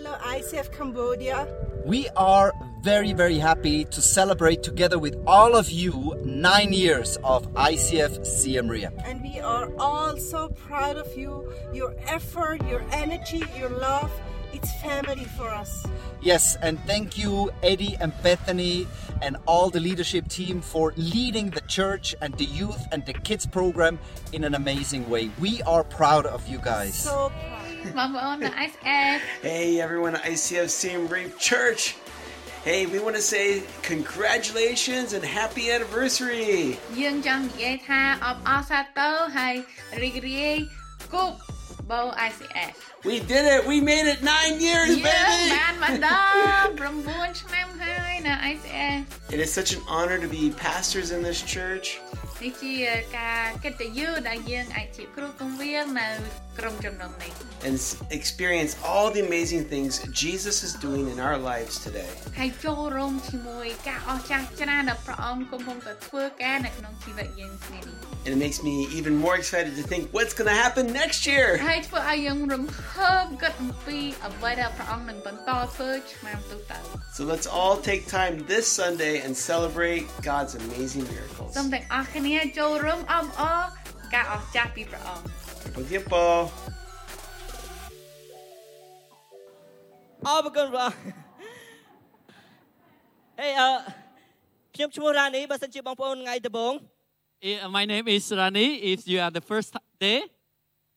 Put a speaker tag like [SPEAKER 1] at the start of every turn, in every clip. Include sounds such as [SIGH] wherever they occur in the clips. [SPEAKER 1] ICF Cambodia.
[SPEAKER 2] We are very, very happy to celebrate together with all of you nine years of ICF CM Rehab.
[SPEAKER 1] And we are all so proud of you, your effort, your energy, your love. It's family for us.
[SPEAKER 2] Yes, and thank you, Eddie and Bethany, and all the leadership team for leading the church and the youth and the kids program in an amazing way. We are proud of you guys.
[SPEAKER 1] So proud.
[SPEAKER 3] Mama on the ice egg.
[SPEAKER 4] Hey everyone, ICF Same Reap Church. Hey, we want to say congratulations and happy anniversary.
[SPEAKER 3] យើងចង់និយាយថាអបអរសាទរហើយរីករាយគប់បោ ICF
[SPEAKER 4] We did it. We made it nine years,
[SPEAKER 3] យើង
[SPEAKER 4] baby.
[SPEAKER 3] បានមកដល់9ឆ្នាំហើយនៅ ICF
[SPEAKER 4] It is such an honor to be pastors in this church.
[SPEAKER 3] នេះជាការកិត្តិយសដែលយើងអាចជាគ្រូគង្វាលនៅក្រុមចំណុំនេះ
[SPEAKER 4] and s- experience all the amazing things Jesus is doing in our lives today.
[SPEAKER 3] ហើយចូលរួមជាមួយការអស្ចារ្យច្រើនដែលព្រះអង្គកំពុងតែធ្វើការនៅក្នុងជីវិតយើងថ្ងៃនេះ
[SPEAKER 4] And it makes me even more excited to think what's going to happen next year.
[SPEAKER 3] ហើយធ្វើឲ្យយើងរំភើបគិតអំពីអ្វីដែលព្រះអង្គនឹងបន្តធ្វើឆ្នាំទៅទៅ
[SPEAKER 4] So let's all take time this Sunday and celebrate God's amazing miracles.
[SPEAKER 3] សូមទាំងអស់គ្នាចូលរួមអបអរការអស្ចារ្យពីព្រះអង្គ
[SPEAKER 4] Tiempo, tiempo.
[SPEAKER 5] អរគុណ [LAUGHS] បងហេអឺខ្ញុំឈ្មោះរ៉ានីបើសិនជាបងប្អូនថ្ងៃដំបូង
[SPEAKER 6] Eh, My name is Rani. If you are the first day,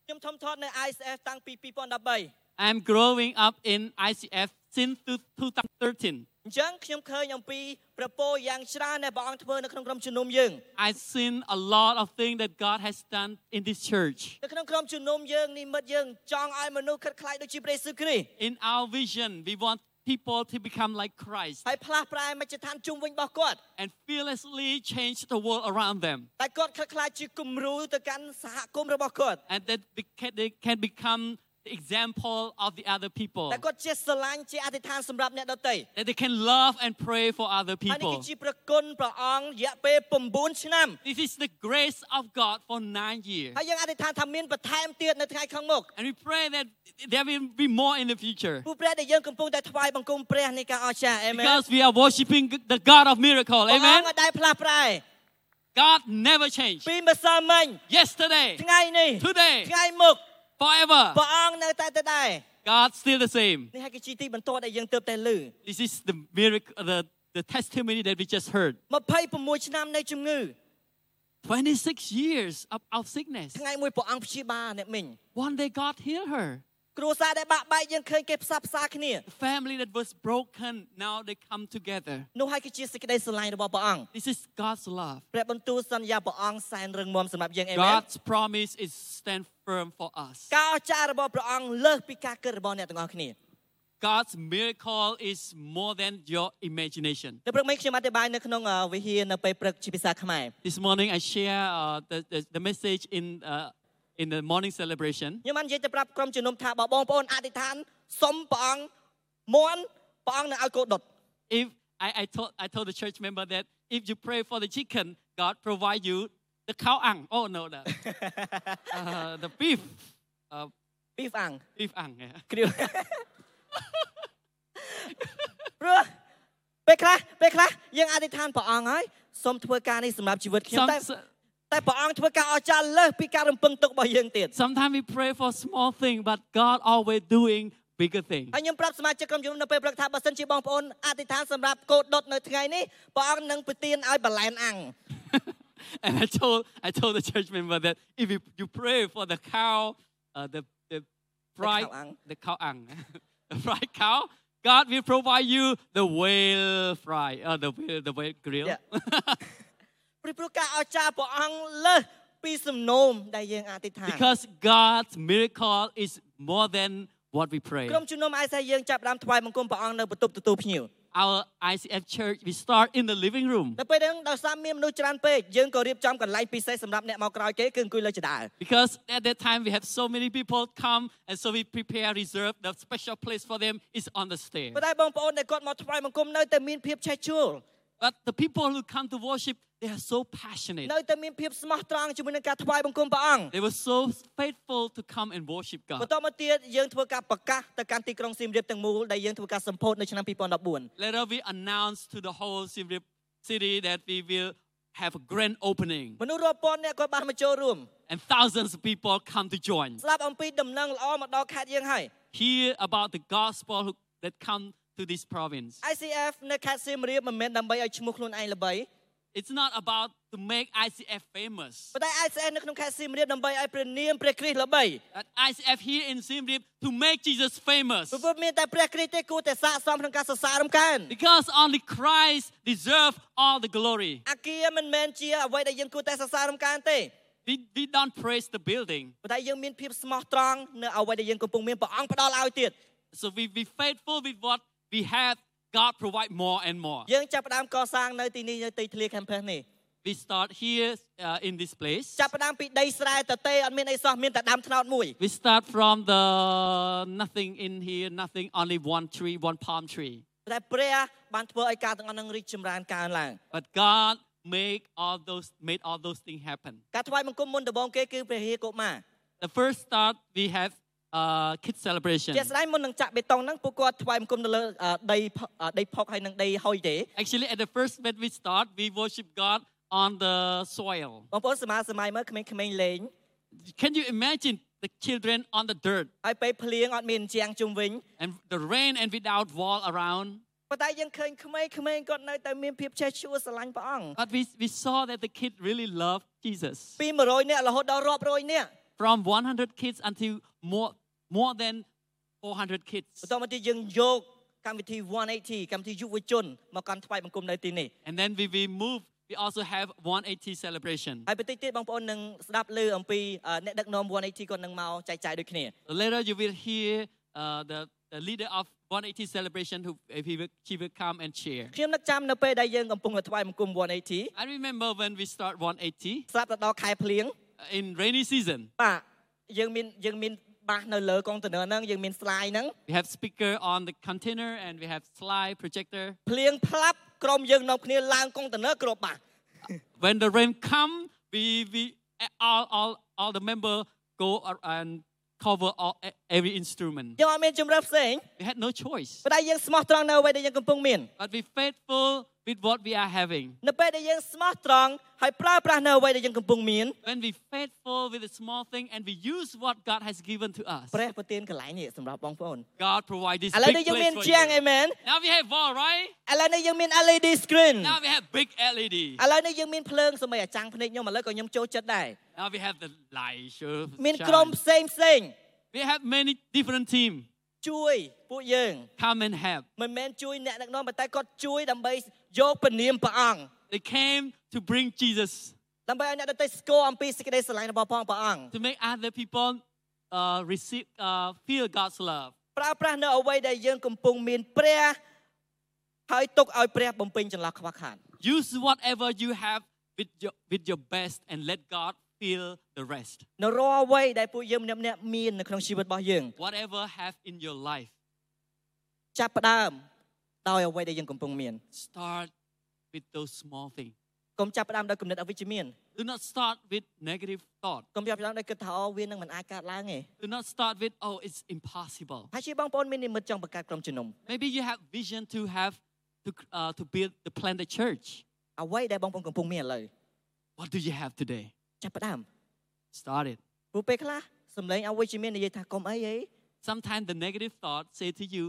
[SPEAKER 5] ខ្ញុំធំធាត់នៅ ISF តាំងពី2013
[SPEAKER 6] I'm growing up in ICF since two- 2013.
[SPEAKER 5] អញ្ចឹងខ្ញុំឃើញអំពីប្រពោយ៉ាងច្រើនដែលព្រះអង្គធ្វើនៅក្នុងក្រុមជំនុំយើង
[SPEAKER 6] I've seen a lot of things that God has done in this church.
[SPEAKER 5] នៅក្នុងក្រុមជំនុំយើងនិមិត្តយើងចង់ឲ្យមនុស្សខិតខ្លាចដូចជាព្រះយេស៊ូវគ្រីស្ទ
[SPEAKER 6] In our vision, we want people to become like Christ
[SPEAKER 5] ហើយផ្លាស់ប្រែមជ្ឈដ្ឋានជុំវិញរបស់គាត់
[SPEAKER 6] and fearlessly change the world around them.
[SPEAKER 5] តែគាត់ខិតខ្លាចជាគំរូទៅកាន់សហគមន៍របស់គាត់
[SPEAKER 6] And that they can- they can become the example of the other people.
[SPEAKER 5] តែគាត់ជាស្រឡាញ់ជាអធិដ្ឋានសម្រាប់អ្នកដទៃ
[SPEAKER 6] That they can love and pray for other
[SPEAKER 5] ហើយនេះ
[SPEAKER 6] people.
[SPEAKER 5] គឺជាប្រគុណព្រះអង្គរយៈពេល9ឆ្នាំ
[SPEAKER 6] This is the grace of God for nine years.
[SPEAKER 5] ហើយយើងអធិដ្ឋានថាមានបន្ថែមទៀតនៅថ្ងៃខាងមុខ
[SPEAKER 6] And we pray that there will be more in the future.
[SPEAKER 5] ពូព្រះដែលយើងកំពុងតែថ្វាយបង្គំព្រះនៃការអស្ចារ្យអេមែន
[SPEAKER 6] Because we are worshiping the God of miracle.
[SPEAKER 5] ព្រះអង្គ
[SPEAKER 6] Amen.
[SPEAKER 5] មិនដែលផ្លាស់ប្រែ
[SPEAKER 6] God never changed.
[SPEAKER 5] ពីម្សិលមិញ
[SPEAKER 6] Yesterday,
[SPEAKER 5] ថ្ងៃនេះ
[SPEAKER 6] today,
[SPEAKER 5] ថ្ងៃមុខ
[SPEAKER 6] forever,
[SPEAKER 5] ព្រះអង្គនៅតែទៅដែរ
[SPEAKER 6] God still the same.
[SPEAKER 5] នេះហើយគឺជាទីបន្ទាត់ដែលយើងទើបតែឮ
[SPEAKER 6] This is the miracle, the, the testimony that we just heard.
[SPEAKER 5] 26ឆ្នាំនៃជំងឺ
[SPEAKER 6] 26 years of, of sickness.
[SPEAKER 5] ថ្ងៃមួយព្រះអង្គព្យាបាលអ្នកមីង
[SPEAKER 6] One day God healed her.
[SPEAKER 5] គ្រួសារដែលបាក់បែកយើងឃើញគេផ្សះផ្សាគ្នា
[SPEAKER 6] The family that was broken, now they come together.
[SPEAKER 5] នោះហើយគឺជាសេចក្តីស្រឡាញ់របស់ព្រះអង្គ
[SPEAKER 6] This is God's love.
[SPEAKER 5] ព្រះបន្ទូលសន្យាព្រះអង្គសែនរឹងមាំសម្រាប់យើងអេមែន
[SPEAKER 6] God's promise is stand firm for us.
[SPEAKER 5] ការអស្ចារ្យរបស់ព្រះអង្គលើសពីការគិតរបស់អ្នកទាំងអស់គ្នា
[SPEAKER 6] God's miracle is more than your imagination.
[SPEAKER 5] នៅព្រឹកមិញខ្ញុំអធិប្បាយនៅក្នុងអឺវិហារនៅពេលព្រឹកជាភាសាខ្មែរ
[SPEAKER 6] This morning I share uh, the, the, the message in, uh, in the morning celebration.
[SPEAKER 5] ខ្ញុំបាននិយាយទៅប្រាប់ក្រុមជំនុំថាបើបងប្អូនអធិដ្ឋានសុំព្រះអង្គមួនព្រះអង្គនឹងឲ្យកោដុត
[SPEAKER 6] If I, I, told, I told the church member that if you pray for the chicken, God provide you the cow ang. Oh no, the, uh, the beef. Uh,
[SPEAKER 5] ពីហ្វាំង
[SPEAKER 6] beef ang. yeah.
[SPEAKER 5] គ្រាវ ព្រោះពេលខ្លះពេលខ្លះយើងអធិដ្ឋានព្រះអង្គហើយសូមធ្វើការនេះសម្រាប់ជីវិតខ្ញុំ
[SPEAKER 6] Some,
[SPEAKER 5] តែ តែព្រះអង្គធ្វើការអស្ចារ្យលើសពីការរំពឹងទុករបស់យើងទៀត
[SPEAKER 6] sometimes we pray for small thing, but God always doing bigger thing.
[SPEAKER 5] ហើយខ្ញុំប្រាប់សមាជិកក្រុមជំនុំនៅពេលព្រឹកថាបើសិនជាបងប្អូនអធិដ្ឋានសម្រាប់កោដុតនៅថ្ងៃនេះព្រះអង្គនឹងប្រទានឲ្យបលែនអាំង
[SPEAKER 6] and I told, I told the church member that if you, you pray for the cow, uh, the, the fried,
[SPEAKER 5] ang.
[SPEAKER 6] the cow ang, [LAUGHS] the fried cow, God will provide you the whale fry, uh, the whale, the whale grill. [LAUGHS]
[SPEAKER 5] Yeah. ព្រោះព្រោះការអស្ចារ្យព្រះអង្គលើសពីសំណូមដែលយើងអធិដ្ឋាន
[SPEAKER 6] Because God's miracle is more than what we pray.
[SPEAKER 5] ក្រុមជំនុំអាយសាយើងចាប់ផ្ដើមថ្វាយបង្គំព្រះអង្គនៅបន្ទប់ទទួលភ្ញៀវ
[SPEAKER 6] Our ICF church, we start in the living room
[SPEAKER 5] នៅពេលហ្នឹងដោយសារមានមនុស្សច្រើនពេកយើងក៏រៀបចំកន្លែងពិសេសសម្រាប់អ្នកមកក្រោយគេគឺអង្គុយលើចដាល
[SPEAKER 6] because at that time we have so many people come, and so we prepare, reserve the special place for them is on the stair.
[SPEAKER 5] ប៉ុន្តែបងប្អូនដែលគាត់មកថ្វាយបង្គំនៅតែមានភាពឆេះឆួល
[SPEAKER 6] But the people who come to worship, they are so passionate.
[SPEAKER 5] នៅតែមានភាពស្មោះត្រង់ជាមួយនឹងការថ្វាយបង្គំព្រះអង្គ
[SPEAKER 6] They were so faithful to come and worship
[SPEAKER 5] ប
[SPEAKER 6] God.
[SPEAKER 5] ន្ទាប់មកទៀតយើងធ្វើការប្រកាសទៅកាន់ទីក្រុងសៀមរាបទាំងមូលដែលយើងធ្វើការសម្ពោធនៅឆ្នាំ
[SPEAKER 6] Later, we announced to the whole Siem Reap city that we will have a grand opening,
[SPEAKER 5] 2014មនុស្សរាប់ពាន់អ្នកក៏បានមកចូលរួម
[SPEAKER 6] and thousands of people come to join.
[SPEAKER 5] ស្ដាប់អំពីដំណឹងល្អមកដល់ខេត្តយើងហើយ
[SPEAKER 6] Hear about the gospel who- that come to this province.
[SPEAKER 5] ICF នៅខេត្តសៀមរាបមិនមែនដើម្បីឲ្យឈ្មោះខ្លួនឯងល្បី
[SPEAKER 6] It's not about to make ICF famous,
[SPEAKER 5] ប៉ុន្តែ ICF នៅក្នុងខេត្តសៀមរាបដើម្បីឲ្យព្រះនាមព្រះគ្រីស្ទល្បី
[SPEAKER 6] but ICF here in Siem Reap to make Jesus famous.
[SPEAKER 5] ព្រោះមានតែព្រះគ្រីស្ទទេគួរតែស័ក្តិសមក្នុងការសរសើររំកាន
[SPEAKER 6] Because only Christ deserves all the glory.
[SPEAKER 5] អាគារមិនមែនជាអ្វីដែលយើងគួរតែសរសើររំកានទេ
[SPEAKER 6] We, we don't praise the building.
[SPEAKER 5] ប៉ុន្តែយើងមានភាពស្មោះត្រង់នៅអ្វីដែលយើងកំពុងមានព្រះអង្គផ្ដល់ឲ្យទៀត
[SPEAKER 6] So we be faithful with what we have. God provide more and more.
[SPEAKER 5] យើងចាប់ផ្ដើមកសាងនៅទីនេះនៅទីធ្លា campus នេះ
[SPEAKER 6] We start here uh, in this place.
[SPEAKER 5] ចាប់ផ្ដើមពីដីស្រែតទេអត់មានអីសោះមានតែដើមត្នោតមួយ
[SPEAKER 6] We start from the nothing in here, nothing, only one tree, one palm tree.
[SPEAKER 5] តែព្រះបានធ្វើឲ្យការទាំងអស់នឹងរីកចម្រើនកើនឡើង
[SPEAKER 6] But God make all those made all those things happen.
[SPEAKER 5] ការថ្វាយបង្គំមុនដំបូងគេគឺព្រះរាជកុមារ
[SPEAKER 6] The first start we have uh, kids celebration.
[SPEAKER 5] ជាក់ស្ដែងមុននឹងចាក់បេតុងហ្នឹងពួកគាត់ថ្វាយបង្គំនៅលើអឺដីផអឺដីផុកហើយនឹងដីហុយទេ
[SPEAKER 6] Actually, at the first when we start, we worship God on the soil.
[SPEAKER 5] បងប្អូនសមាសម័យមើលក្មេងៗលេង
[SPEAKER 6] Can you imagine the children on the dirt
[SPEAKER 5] ហើយពេលភ្លៀងអត់មានជាងជុំវិញ
[SPEAKER 6] and the rain and without wall around?
[SPEAKER 5] ប៉ុន្តែយើងឃើញក្មេងៗគាត់នៅតែមានភាពចេះឈួរស្រឡាញ់ព្រះអង្គ
[SPEAKER 6] But we, we saw that the kid really loved Jesus.
[SPEAKER 5] ពី100នាក់រហូតដល់រាប់រយនាក់
[SPEAKER 6] From 100 kids until more, more than 400 kids.
[SPEAKER 5] បន្តមកទៀតយើងយកកម្មវិធី180កម្មវិធីយុវជនមកកាន់ថ្វាយបង្គំនៅទីនេះ
[SPEAKER 6] And then we, we move, we also have 180 celebration.
[SPEAKER 5] ហើយបន្តិចទៀតបងប្អូននឹងស្ដាប់លើអំពីអឺអ្នកដឹកនាំ180គាត់នឹងមកចែកចាយដូចគ្នា
[SPEAKER 6] Later you will hear uh, the, the leader of 180 celebration who if he will, she will come and share.
[SPEAKER 5] ខ្ញុំនឹកចាំនៅពេលដែលយើងកំពុងតែថ្វាយបង្គំ180
[SPEAKER 6] I remember when we start 180
[SPEAKER 5] ស្រាប់ទៅដល់ខែភ្លៀង
[SPEAKER 6] uh, in rainy season.
[SPEAKER 5] បាទយើងមានយើងមានបាសនៅលើកុងតឺន័រហ្នឹងយើងមានស្លាយហ្នឹង
[SPEAKER 6] We have speaker on the container and we have slide projector.
[SPEAKER 5] ភ្លៀងផ្លាប់ក្រុមយើងនាំគ្នាឡើងកុងតឺន័រគ្របបាស
[SPEAKER 6] when the rain come, we, we all, all, all the member go ar- and cover all, e- every instrument.
[SPEAKER 5] យើងអត់មានជំរើសផ្សេង
[SPEAKER 6] We had no choice,
[SPEAKER 5] ប៉ុន្តែយើងស្មោះត្រង់នៅអ្វីដែលយើងកំពុងមាន
[SPEAKER 6] but we faithful with what we are having.
[SPEAKER 5] នៅពេលដែលយើងស្មោះត្រង់ហើយប្រើប្រាស់នៅអ្វីដែលយើងកំពុងមាន
[SPEAKER 6] When we faithful with the small thing and we use what God has given to us,
[SPEAKER 5] ព្រះប្រទានកន្លែងនេះសម្រាប់បងប្អូន
[SPEAKER 6] God provide this
[SPEAKER 5] ឥ
[SPEAKER 6] big
[SPEAKER 5] ឡូវនេះយើងមាន
[SPEAKER 6] place for
[SPEAKER 5] ជាងអេ
[SPEAKER 6] you.
[SPEAKER 5] មែន
[SPEAKER 6] Now we have wall, right?
[SPEAKER 5] ឥឡូវនេះយើងមាន LED screen
[SPEAKER 6] Now we have big E LED.
[SPEAKER 5] ឥឡូវនេះយើងមានភ្លើងសម្រាប់អាចាំងភ្នែកខ្ញុំឥឡូវក៏ខ្ញុំចូលចិត្តដែរ
[SPEAKER 6] Now we have the light show.
[SPEAKER 5] មានក្រុមផ្សេងផ្សេង
[SPEAKER 6] We have many different team
[SPEAKER 5] ជួយពួកយើង
[SPEAKER 6] come and help.
[SPEAKER 5] មិនមែនជួយអ្នកដឹកនាំប៉ុន្តែគាត់ជួយដើម្បីយកពនាមព្រះអង្គ
[SPEAKER 6] They came to bring Jesus
[SPEAKER 5] ដើម្បីឲ្យអ្នកដទៃស្គាល់អំពីសេចក្តីស្រឡាញ់របស់ផងព្រះអង្គ
[SPEAKER 6] to make other people uh, receive uh, feel God's love.
[SPEAKER 5] ប្រើប្រាស់នៅអ្វីដែលយើងកំពុងមានព្រះហើយទុកឲ្យព្រះបំពេញចន្លោះខ្វះខាត
[SPEAKER 6] Use whatever you have with your, with your best and let God feel the rest.
[SPEAKER 5] នៅរាល់អ្វីដែលពួកយើងម្នាក់ៗមាននៅក្នុងជីវិតរបស់យើង
[SPEAKER 6] Whatever have in your life,
[SPEAKER 5] ចាប់ផ្ដើមដោយអ្វីដែលយើងកំពុងមាន
[SPEAKER 6] start with those small things.
[SPEAKER 5] កុំចាប់ផ្ដើមដោយគំនិតអវិជ្ជមាន
[SPEAKER 6] Do not start with negative thought.
[SPEAKER 5] កុំចាប់ផ្ដើមដោយគិតថាអូវានឹងមិនអាចកើតឡើងទេ
[SPEAKER 6] Do not start with oh it's impossible.
[SPEAKER 5] ហើយជាបងប្អូនមាននិមិត្តចង់បង្កើតក្រុមជំនុំ
[SPEAKER 6] Maybe you have vision to have to uh, to build to plant the church.
[SPEAKER 5] អ្វីដែលបងប្អូនកំពុងមានឥឡូវ
[SPEAKER 6] What do you have today?
[SPEAKER 5] ចាប់ផ្ដើម
[SPEAKER 6] Start it.
[SPEAKER 5] ព្រោះពេលខ្លះសំឡេងអវិជ្ជមាននិយាយថាកុំអីហី
[SPEAKER 6] Sometimes the negative thought say to you,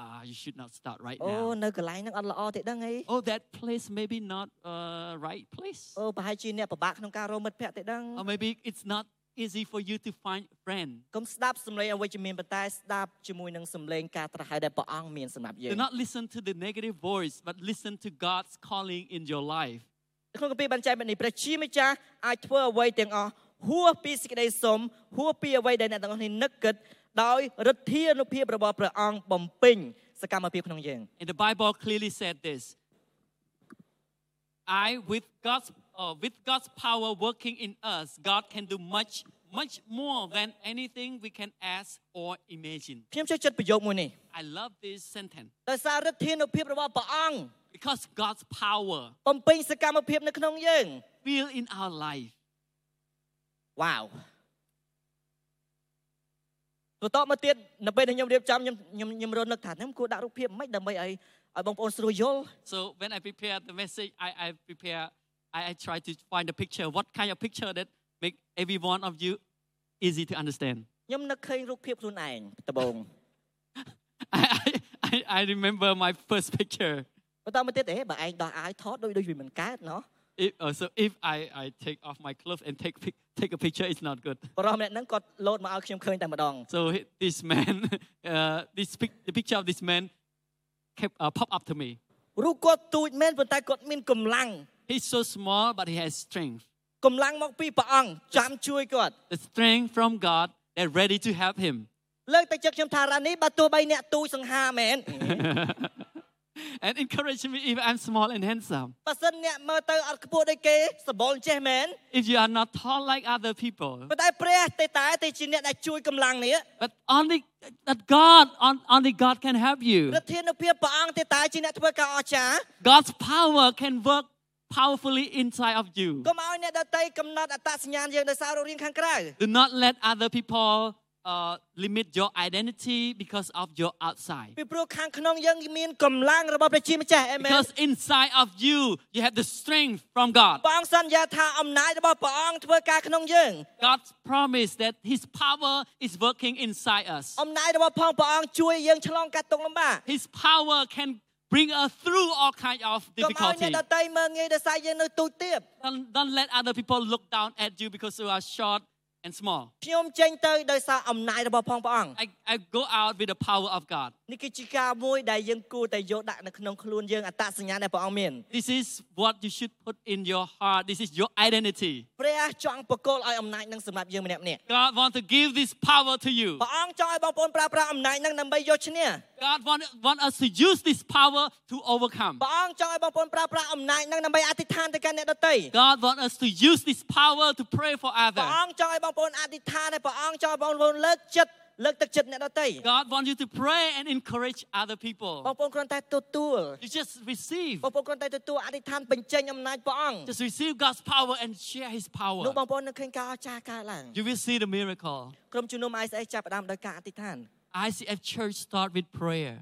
[SPEAKER 6] ah, you should not start right
[SPEAKER 5] អូ
[SPEAKER 6] now.
[SPEAKER 5] នៅកន្លែងហ្នឹងអត់ល្អទេដឹងអី
[SPEAKER 6] oh that place maybe not uh, right place
[SPEAKER 5] អូប្រហែលជាអ្នកពិបាកក្នុងការរកមិត្តភក្តិទេដឹង
[SPEAKER 6] or maybe it's not easy for you to find friend
[SPEAKER 5] កុំស្ដាប់សំឡេងអវិជ្ជមានប៉ុន្តែស្ដាប់ជាមួយនឹងសំឡេងការត្រាស់ហៅដែលព្រះអង្គមានសម្រាប់យើង
[SPEAKER 6] do not listen to the negative voice but listen to god's calling in your life
[SPEAKER 5] នៅក្នុងកាពីរបញ្ចែបែបនេះព្រះជាម្ចាស់អាចធ្វើអ្វីទាំងអស់ហួសពីសេចក្តីសុំហួសពីអ្វីដែលអ្នកទាំងអស់នេះនឹកគិតដោយរិទ្ធានុភាពរបស់ព្រះអង្គបំពេញសកម្មភាពក្នុងយើង
[SPEAKER 6] and the bible clearly said this i with god's uh, with god's power working in us god can do much much more than anything we can ask or imagine
[SPEAKER 5] ខ្ញុំចូលចិត្តប្រយោគមួយនេះ
[SPEAKER 6] i love this sentence
[SPEAKER 5] ដោយសាររិទ្ធានុភាពរបស់ព្រះអង្គ
[SPEAKER 6] because because God's power
[SPEAKER 5] បំពេញសកម្មភាពនៅក្នុងយើង
[SPEAKER 6] will in our life.
[SPEAKER 5] wow បន្តមកទៀតនៅពេលដែលខ្ញុំរៀបចំខ្ញុំខ្ញុំខ្ញុំរត់នឹកថាខ្ញុំគួរដាក់រូបភាពមិនដើម្បីឲ្យឲ្យបងប្អូនស្រួលយល់
[SPEAKER 6] So when I prepare the message, I, I prepare, I, I try to find a picture. What kind of picture that make every one of you easy to understand?
[SPEAKER 5] ខ្ញុំនឹកឃើញរូបភាពខ្លួនឯងដំបូង
[SPEAKER 6] I, I, I remember my first picture.
[SPEAKER 5] បន្តមកទៀតអេបើឯងដោះអាយថតដូចដូចវាមិនកើតណោះ
[SPEAKER 6] If, uh, so if I, I take off my clothes and take pic- take a picture, it's not good.
[SPEAKER 5] បរិសម្នាក់ហ្នឹងគាត់លោតមកឲ្យខ្ញុំឃើញតែម្ដង
[SPEAKER 6] So he- this man, [LAUGHS] uh, this pic, the picture of this man, kept uh, pop up to me.
[SPEAKER 5] រូបគាត់ទូចមែនប៉ុន្តែគាត់មានកម្លាំង
[SPEAKER 6] He's so small, but he has strength.
[SPEAKER 5] កម្លាំងមកពីព្រះអង្គចាំជួយគាត់
[SPEAKER 6] The strength from God that ready to help him.
[SPEAKER 5] លើកតែចិត្តខ្ញុំថារ៉ានេះបើទោះបីអ្នកទូចសង្ហាមែន
[SPEAKER 6] and [LAUGHS] encourage me if I'm small and handsome.
[SPEAKER 5] បើសិនអ្នកមើលទៅអត់ខ្ពស់ដូចគេសបល់ចេះមែន
[SPEAKER 6] If you are not tall like other people,
[SPEAKER 5] ប៉ុន្តែព្រះទេតែទេជាអ្នកដែលជួយកម្លាំងនេះ
[SPEAKER 6] but only that God, on, only God can help you.
[SPEAKER 5] ប្រធានភាពព្រះអង្គទេតែជាអ្នកធ្វើការអស្ចារ្យ
[SPEAKER 6] God's power can work powerfully inside of you.
[SPEAKER 5] កុំឲ្យអ្នកដតីកំណត់អត្តសញ្ញាណយើងដោយសាររូបរាងខាងក្រៅ
[SPEAKER 6] Do not let other people uh, limit your identity because of your outside.
[SPEAKER 5] ពីព្រោះខាងក្នុងយើងមានកម្លាំងរបស់ព្រះជាម្ចាស់អេមែន
[SPEAKER 6] Because inside of you, you have the strength from God.
[SPEAKER 5] ព្រះអង្គសន្យាថាអំណាចរបស់ព្រះអង្គធ្វើការក្នុងយើង
[SPEAKER 6] God's promise that His power is working inside us.
[SPEAKER 5] អំណាចរបស់ផងព្រះអង្គជួយយើងឆ្លងកាត់ទុក្ខលំបាក
[SPEAKER 6] His power can bring us through all kinds of
[SPEAKER 5] កុំឲ្យអ្នក
[SPEAKER 6] difficulty.
[SPEAKER 5] ដតីមើងងាយដោយសារយើងនៅទូចទៀត
[SPEAKER 6] Don't, don't let other people look down at you because you are short and small.
[SPEAKER 5] ខ្ញុំចេញទៅដោយសារអំណាចរបស់ផងព្រះអង្គ
[SPEAKER 6] I, I go out with the power of God.
[SPEAKER 5] នេះគឺជាការមួយដែលយើងគួរតែយកដាក់នៅក្នុងខ្លួនយើងអត្តសញ្ញាណដែលព្រះអង្គមាន
[SPEAKER 6] This is what you should put in your heart. This is your identity.
[SPEAKER 5] ព្រះចង់បកគលឲ្យអំណាចនឹងសម្រាប់យើងម្នាក់ម្នាក់
[SPEAKER 6] God wants to give this power to you.
[SPEAKER 5] ព្រះអង្គចង់ឲ្យបងប្អូនប្រើប្រាស់អំណាចនឹងដើម្បីយកឈ្នះ
[SPEAKER 6] God wants want us to use this power to overcome.
[SPEAKER 5] ព្រះអង្គចង់ឲ្យបងប្អូនប្រើប្រាស់អំណាចនឹងដើម្បីអធិដ្ឋានទៅកាន់អ្នកដទៃ
[SPEAKER 6] God wants us to use this power to pray for
[SPEAKER 5] ព្រះ
[SPEAKER 6] others.
[SPEAKER 5] អង្គចង់ឲ្យបងប្អូនអធិដ្ឋានហើយព្រះអង្គចង់ឲ្យបងប្អូនលើកចិត្តលើកទឹកចិត្តអ្នកដទៃ
[SPEAKER 6] God wants you to pray and encourage other
[SPEAKER 5] បង
[SPEAKER 6] people.
[SPEAKER 5] ប្អូនគ្រាន់តែទទួល
[SPEAKER 6] You just receive.
[SPEAKER 5] បងប្អូនគ្រាន់តែទទួលអធិដ្ឋានបញ្ចេញអំណាចព្រះអង្គ
[SPEAKER 6] Just receive God's power and share His
[SPEAKER 5] នោះ
[SPEAKER 6] power.
[SPEAKER 5] បងប្អូននឹងឃើញការអស្ចារ្យកើតឡើង
[SPEAKER 6] You will see the miracle.
[SPEAKER 5] ក្រុមជំនុំ ISS ចាប់ផ្ដើមដោយការអធិដ្ឋាន
[SPEAKER 6] ICF Church start with prayer,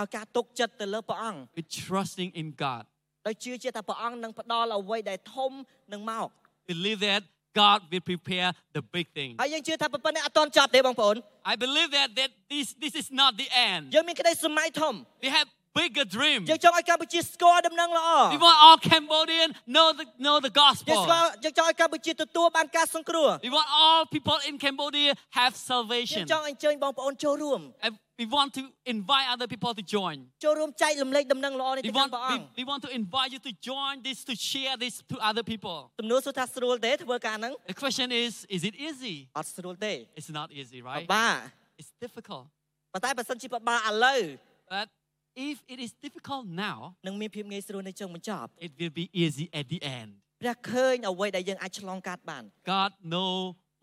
[SPEAKER 5] ដោយការទុកចិត្តទៅលើព្រះអង្គ
[SPEAKER 6] with trusting in God.
[SPEAKER 5] ដោយជឿជាក់ថាព្រះអង្គនឹងផ្ដល់អ្វីដែលធំនឹងមក
[SPEAKER 6] Believe that God will prepare the big thing.
[SPEAKER 5] ហើយយើងជឿថាប៉ុណ្ណេះអត់ទាន់ចប់ទេបងប្អូន
[SPEAKER 6] I believe that, that this, this is not the end.
[SPEAKER 5] យើងមានក្តីសម័យធំ
[SPEAKER 6] We have bigger dream.
[SPEAKER 5] យើងចង់ឲ្យកម្ពុជាស្គាល់ដំណឹងល្អ
[SPEAKER 6] We want all Cambodian know the, know the
[SPEAKER 5] យើង
[SPEAKER 6] gospel.
[SPEAKER 5] ស្គាល់យើងចង់ឲ្យកម្ពុជាទទួលបានការសង្គ្រោះ
[SPEAKER 6] We want all people in Cambodia have
[SPEAKER 5] យើង
[SPEAKER 6] salvation.
[SPEAKER 5] ចង់អញ្ជើញបងប្អូនចូលរួម
[SPEAKER 6] And we want to invite other people to join.
[SPEAKER 5] ចូលរួមចែករំលែកដំណឹងល្អនេះ
[SPEAKER 6] We
[SPEAKER 5] ទៅកាន់
[SPEAKER 6] want,
[SPEAKER 5] ព្រះអង្គ
[SPEAKER 6] we, we want to invite you to join this, to share this to other people.
[SPEAKER 5] ទំនួលសួរថាស្រួលទេធ្វើការហ្នឹង
[SPEAKER 6] The question is, is it easy?
[SPEAKER 5] អត់ស្រួលទេ
[SPEAKER 6] It's not easy,
[SPEAKER 5] ប
[SPEAKER 6] right?
[SPEAKER 5] បា
[SPEAKER 6] It's difficult.
[SPEAKER 5] ប៉ុន្តែបើសិនជាបបាឥឡូវ
[SPEAKER 6] But if it is difficult now,
[SPEAKER 5] នឹងមានភាពងាយស្រួលនៅចុងបញ្ចប់
[SPEAKER 6] it will be easy at the end.
[SPEAKER 5] ព្រះឃើញអ្វីដែលយើងអាចឆ្លងកាត់បាន
[SPEAKER 6] God know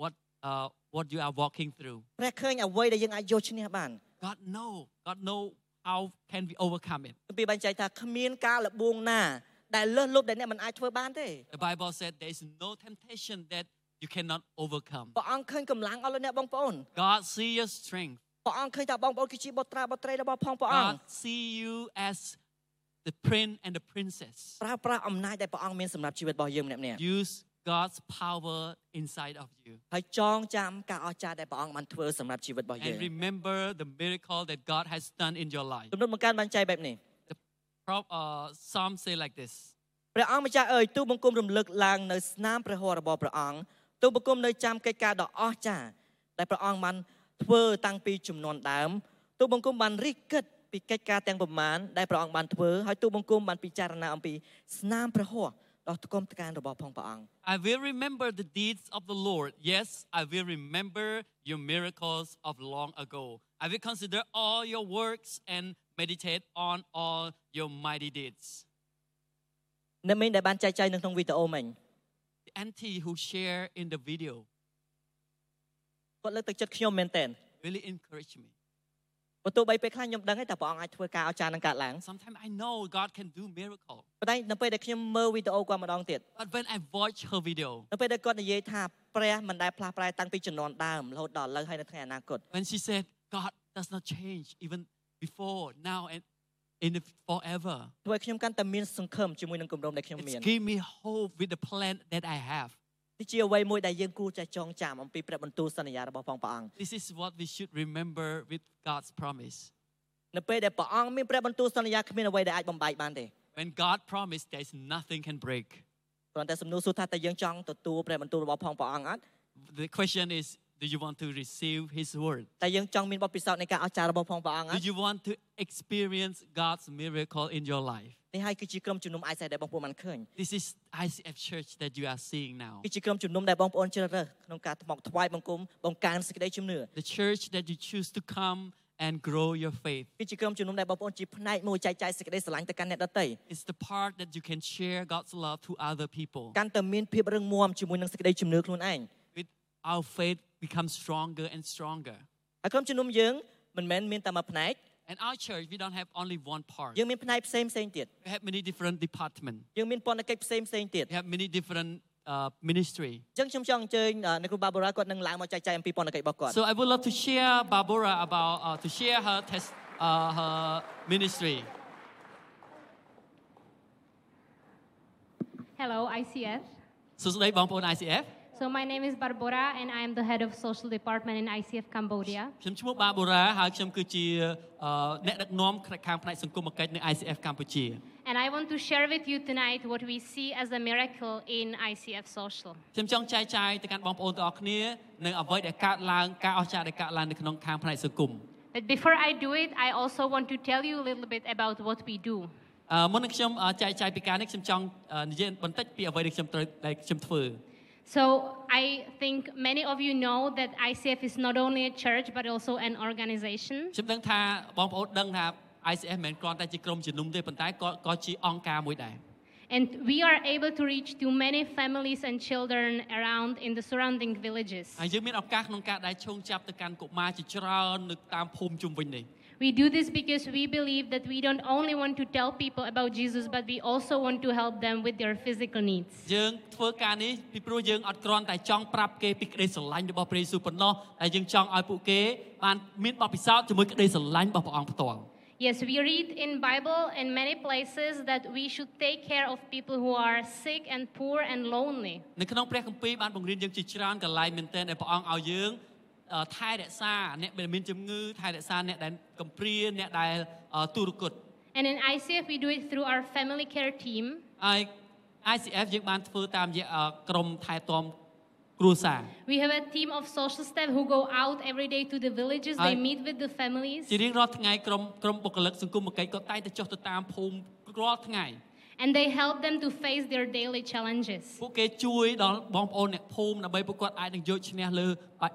[SPEAKER 6] what uh, what you are walking through.
[SPEAKER 5] ព្រះឃើញអ្វីដែលយើងអាចយកឈ្នះបាន
[SPEAKER 6] God know. God know how can we overcome it.
[SPEAKER 5] គម្ពីរបានចែកថាគ្មានការលបួងណាដែលលើសលប់ដែលអ្នកមិនអាចធ្វើបានទេ
[SPEAKER 6] The Bible said there is no temptation that you cannot overcome.
[SPEAKER 5] ព្រះអង្គឃើញកម្លាំងអស់លោកអ្នកបងប្អូន
[SPEAKER 6] God see your strength.
[SPEAKER 5] ព្រះអង្គឃើញថាបងប្អូនគឺជាបុត្រាបុត្រីរបស់ផងព្រះអង្គ
[SPEAKER 6] God see you as the prince and the princess.
[SPEAKER 5] ប្រើប្រាស់អំណាចដែលព្រះអង្គមានសម្រាប់ជីវិតរបស់យើងម្នាក់ៗ
[SPEAKER 6] Use God's power inside of you
[SPEAKER 5] ហើយចងចាំការអស្ចារ្យដែលព្រះអង្គបានធ្វើសម្រាប់ជីវិតរបស់យើង
[SPEAKER 6] and remember the miracle that God has done in your life.
[SPEAKER 5] ទំនុកបង្កើនបានចែកបែបនេះ
[SPEAKER 6] Pro- Uh, Psalm say like this.
[SPEAKER 5] ព្រះអង្គម្ចាស់អើយទូលបង្គំរំលឹកឡើងនៅស្នាមព្រះហស្ថរបស់ព្រះអង្គទូលបង្គំនៅចាំកិច្ចការដ៏អស្ចារ្យដែលព្រះអង្គបានធ្វើតាំងពីជំនាន់ដើមទូលបង្គំបានរិះគិតពីកិច្ចការទាំងប្រមាណដែលព្រះអង្គបានធ្វើហើយទូលបង្គំបានពិចារណាអំពីស្នាមព្រះហស្ថដ៏ថ្កុំថ្កើងរបស់ផងព្រះអង្គ
[SPEAKER 6] I will remember the deeds of the Lord. Yes, I will remember your miracles of long ago. I will consider all your works and meditate on all your mighty deeds.
[SPEAKER 5] អ្នកមីងដែលបានចែកចាយនៅក្នុងវីដេអូមិញ
[SPEAKER 6] The auntie who shared in the video
[SPEAKER 5] គាត់លើកទឹកចិត្តខ្ញុំមែនតើ
[SPEAKER 6] really encouraged me.
[SPEAKER 5] បើទោះបីពេលខ្លះខ្ញុំដឹងទេតែព្រះអង្គអាចធ្វើការអស្ចារ្យនឹងកើតឡើង
[SPEAKER 6] Sometimes I know God can do miracle.
[SPEAKER 5] ប៉ុន្តែនៅពេលដែលខ្ញុំមើលវីដេអូគាត់ម្ដងទៀត
[SPEAKER 6] But when I watch her video,
[SPEAKER 5] នៅពេលដែលគាត់និយាយថាព្រះមិនដែលផ្លាស់ប្រែតាំងពីជំនាន់ដើមរហូតដល់ឥឡូវហើយនៅថ្ងៃអនាគត
[SPEAKER 6] when she said, God does not change even before, now, and in the forever,
[SPEAKER 5] ធ្វើឲ្យខ្ញុំកាន់តែមានសង្ឃឹមជាមួយនឹងគម្រោងដែលខ្ញុំមា
[SPEAKER 6] it's
[SPEAKER 5] ន
[SPEAKER 6] give me hope with the plan that I have.
[SPEAKER 5] នេះជាអ្វីមួយដែលយើងគួរចេះចងចាំអំពីព្រះបន្ទូលសន្យារបស់ផងព្រះអង្គ
[SPEAKER 6] This is what we should remember with God's promise.
[SPEAKER 5] នៅពេលដែលព្រះអង្គមានព្រះបន្ទូលសន្យាគ្មានអ្វីដែលអាចបំបែកបានទេ
[SPEAKER 6] When God promised, there is nothing can break.
[SPEAKER 5] គ្រាន់តែសំណួរសួរថាតើយើងចង់ទទួលព្រះបន្ទូលរបស់ផងព្រះអង្គអត់
[SPEAKER 6] The question is, do you want to receive His word?
[SPEAKER 5] តើយើងចង់មានបទពិសោធន៍នៃការអស្ចារ្យរបស់ផងព្រះអង្គអ
[SPEAKER 6] Do
[SPEAKER 5] ត់
[SPEAKER 6] you want to experience God's miracle in your life?
[SPEAKER 5] នេះហើយគឺជាក្រុមជំនុំអាយសាដែលបងប្អូនបានឃើញ
[SPEAKER 6] This is ICF Church that you are seeing now.
[SPEAKER 5] គឺជាក្រុមជំនុំដែលបងប្អូនជ្រើសរើសក្នុងការថ្មកថ្វាយបង្គំបង្កើនសេចក្តីជំនឿ
[SPEAKER 6] The church that you choose to come and grow your faith.
[SPEAKER 5] គឺជាក្រុមជំនុំដែលបងប្អូនជាផ្នែកមួយចែកចាយសេចក្តីស្រឡាញ់ទៅកាន់អ្នកដទៃ
[SPEAKER 6] It's the part that you can share God's love to other people.
[SPEAKER 5] កាន់តែមានភាពរឹងមាំជាមួយនឹងសេចក្តីជំនឿខ្លួនឯង
[SPEAKER 6] With our faith becomes stronger and stronger.
[SPEAKER 5] ហើយក្រុមជំនុំយើងមិនមែនមានតែមួយផ្នែក
[SPEAKER 6] And our church, we don't have only one part.
[SPEAKER 5] យើងមានផ្នែកផ្សេងផ្សេងៗទៀត
[SPEAKER 6] We have many different departments.
[SPEAKER 5] យើងមានពន្ធកិច្ចផ្សេងផ្សេងៗទៀត
[SPEAKER 6] We have many different uh, ministry.
[SPEAKER 5] អញ្ចឹងខ្ញុំចង់អញ្ជើញអ่าអ្នកគ្រូបាបូរ៉ាគាត់នឹងឡើងមកចែកចាយអំពីពន្ធកិច្ចរបស់គាត់
[SPEAKER 6] So I would love to share Barbara about uh, to share her test, uh, her ministry.
[SPEAKER 7] Hello, ICF.
[SPEAKER 6] So today, Bang Pon ICF.
[SPEAKER 7] So my name is Barbora and I am the head of social department in ICF Cambodia.
[SPEAKER 6] ខ្ញុំឈ្មោះបាបូរ៉ាហើយខ្ញុំគឺជាអឺអ្នកដឹកនាំខាងផ្នែកសង្គមគិច្ចនៅ ICF កម្ពុជា
[SPEAKER 7] And I want to share with you tonight what we see as a miracle in ICF Social.
[SPEAKER 6] ខ្ញុំចង់ចែកចាយទៅកាន់បងប្អូនទាំងអស់គ្នានៅអ្វីដែលកើតឡើងការអស្ចារ្យដែលកើតឡើងនៅក្នុងខាងផ្នែកសង្គម
[SPEAKER 7] But before I do it, I also want to tell you a little bit about what we do.
[SPEAKER 6] អឺមុននឹងខ្ញុំអឺចែកចាយពីការនេះខ្ញុំចង់អឺនិយាយបន្តិចពីអ្វីដែលខ្ញុំត្រូវដែលខ្ញុំធ្វើ
[SPEAKER 7] So I think many of you know that ICF is not only a church but also an organization.
[SPEAKER 6] ខ្ញុំដឹងថាបងប្អូនដឹងថា ICF មិនមែនគ្រាន់តែជាក្រុមជំនុំទេប៉ុន្តែក៏ក៏ជាអង្គការមួយដែរ
[SPEAKER 7] And we are able to reach to many families and children around in the surrounding villages.
[SPEAKER 6] ហើយយើងមានឱកាសក្នុងការដែលឈោងចាប់ទៅកាន់កុមារជាច្រើននៅតាមភូមិជុំវិញនេះ
[SPEAKER 7] We do this because we believe that we don't only want to tell people about Jesus, but we also want to help them with their physical needs.
[SPEAKER 6] យើងធ្វើការនេះពីព្រោះយើងអត់គ្រាន់តែចង់ប្រាប់គេពីក្តីស្រឡាញ់របស់ព្រះយេស៊ូវប៉ុណ្ណោះតែយើងចង់ឲ្យពួកគេបានមានបទពិសោធន៍ជាមួយក្តីស្រឡាញ់របស់ព្រះអង្គផ្ទាល់
[SPEAKER 7] Yes, we read in Bible in many places that we should take care of people who are sick and poor and lonely.
[SPEAKER 6] នៅក្នុងព្រះគម្ពីរបានបង្រៀនយើងជាច្រើនកន្លែងមែនទែនដែលព្រះអង្គឲ្យយើងអឺថែរក្សាអ្នកដែលមានជំងឺថែរក្សាអ្នកដែលកំព្រាអ្នកដែលអឺទុរគត
[SPEAKER 7] And in ICF, we do it through our family care team.
[SPEAKER 6] ហើយ ICF យើងបានធ្វើតាមរយៈអឺក្រុមថែទាំគ្រួសារ
[SPEAKER 7] We have a team of social staff who go out every day to the villages.
[SPEAKER 6] I-
[SPEAKER 7] They meet with the families.
[SPEAKER 6] ជារៀងរាល់ថ្ងៃក្រុមក្រុមបុគ្គលិកសង្គមគិច្ចក៏តែងតែចុះទៅតាមភូមិរាល់ថ្ងៃ
[SPEAKER 7] And they help them to face their daily challenges.
[SPEAKER 6] ពួកគេជួយដល់បងប្អូនអ្នកភូមិដើម្បីពួកគាត់អាចនឹងយកឈ្នះលើ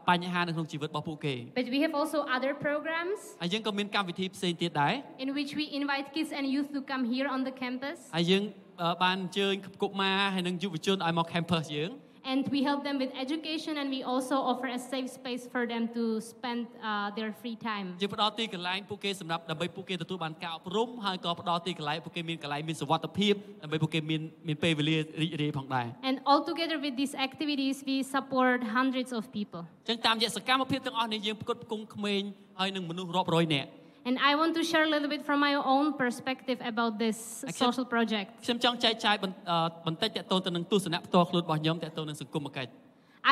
[SPEAKER 6] បញ្ហានៅក្នុងជីវិតរបស់ពួកគេ
[SPEAKER 7] But we have also other programs
[SPEAKER 6] ហើយយើងក៏មានកម្មវិធីផ្សេងទៀតដែរ
[SPEAKER 7] in which we invite kids and youth to come here on the campus.
[SPEAKER 6] ហើយយើងអឺបានអញ្ជើញកុមារហើយនិងយុវជនឲ្យមក campus យើង
[SPEAKER 7] And we help them with education, and we also offer a safe space for them to spend uh, their free time.
[SPEAKER 6] យើងផ្ដល់ទីកន្លែងពួកគេសម្រាប់ដើម្បីពួកគេទទួលបានការអប់រំហើយក៏ផ្ដល់ទីកន្លែងពួកគេមានកន្លែងមានសុវត្ថិភាពដើម្បីពួកគេមានមានពេលវេលារីករាយផងដែរ
[SPEAKER 7] And altogether with these activities, we support hundreds of people.
[SPEAKER 6] អញ្ចឹងតាមរយៈសកម្មភាពទាំងអស់នេះយើងផ្គត់ផ្គង់ក្មេងហើយនិងមនុស្សរាប់រយនាក់
[SPEAKER 7] And I want to share a little bit from my own perspective about this
[SPEAKER 6] I can-
[SPEAKER 7] social project.
[SPEAKER 6] ខ្ញុំចង់ចែកចាយបន្អឺបន្តិចតទៅទៅនឹងទស្សនៈផ្ទាល់ខ្លួនរបស់ខ្ញុំតទៅនឹងសង្គមគិច្ច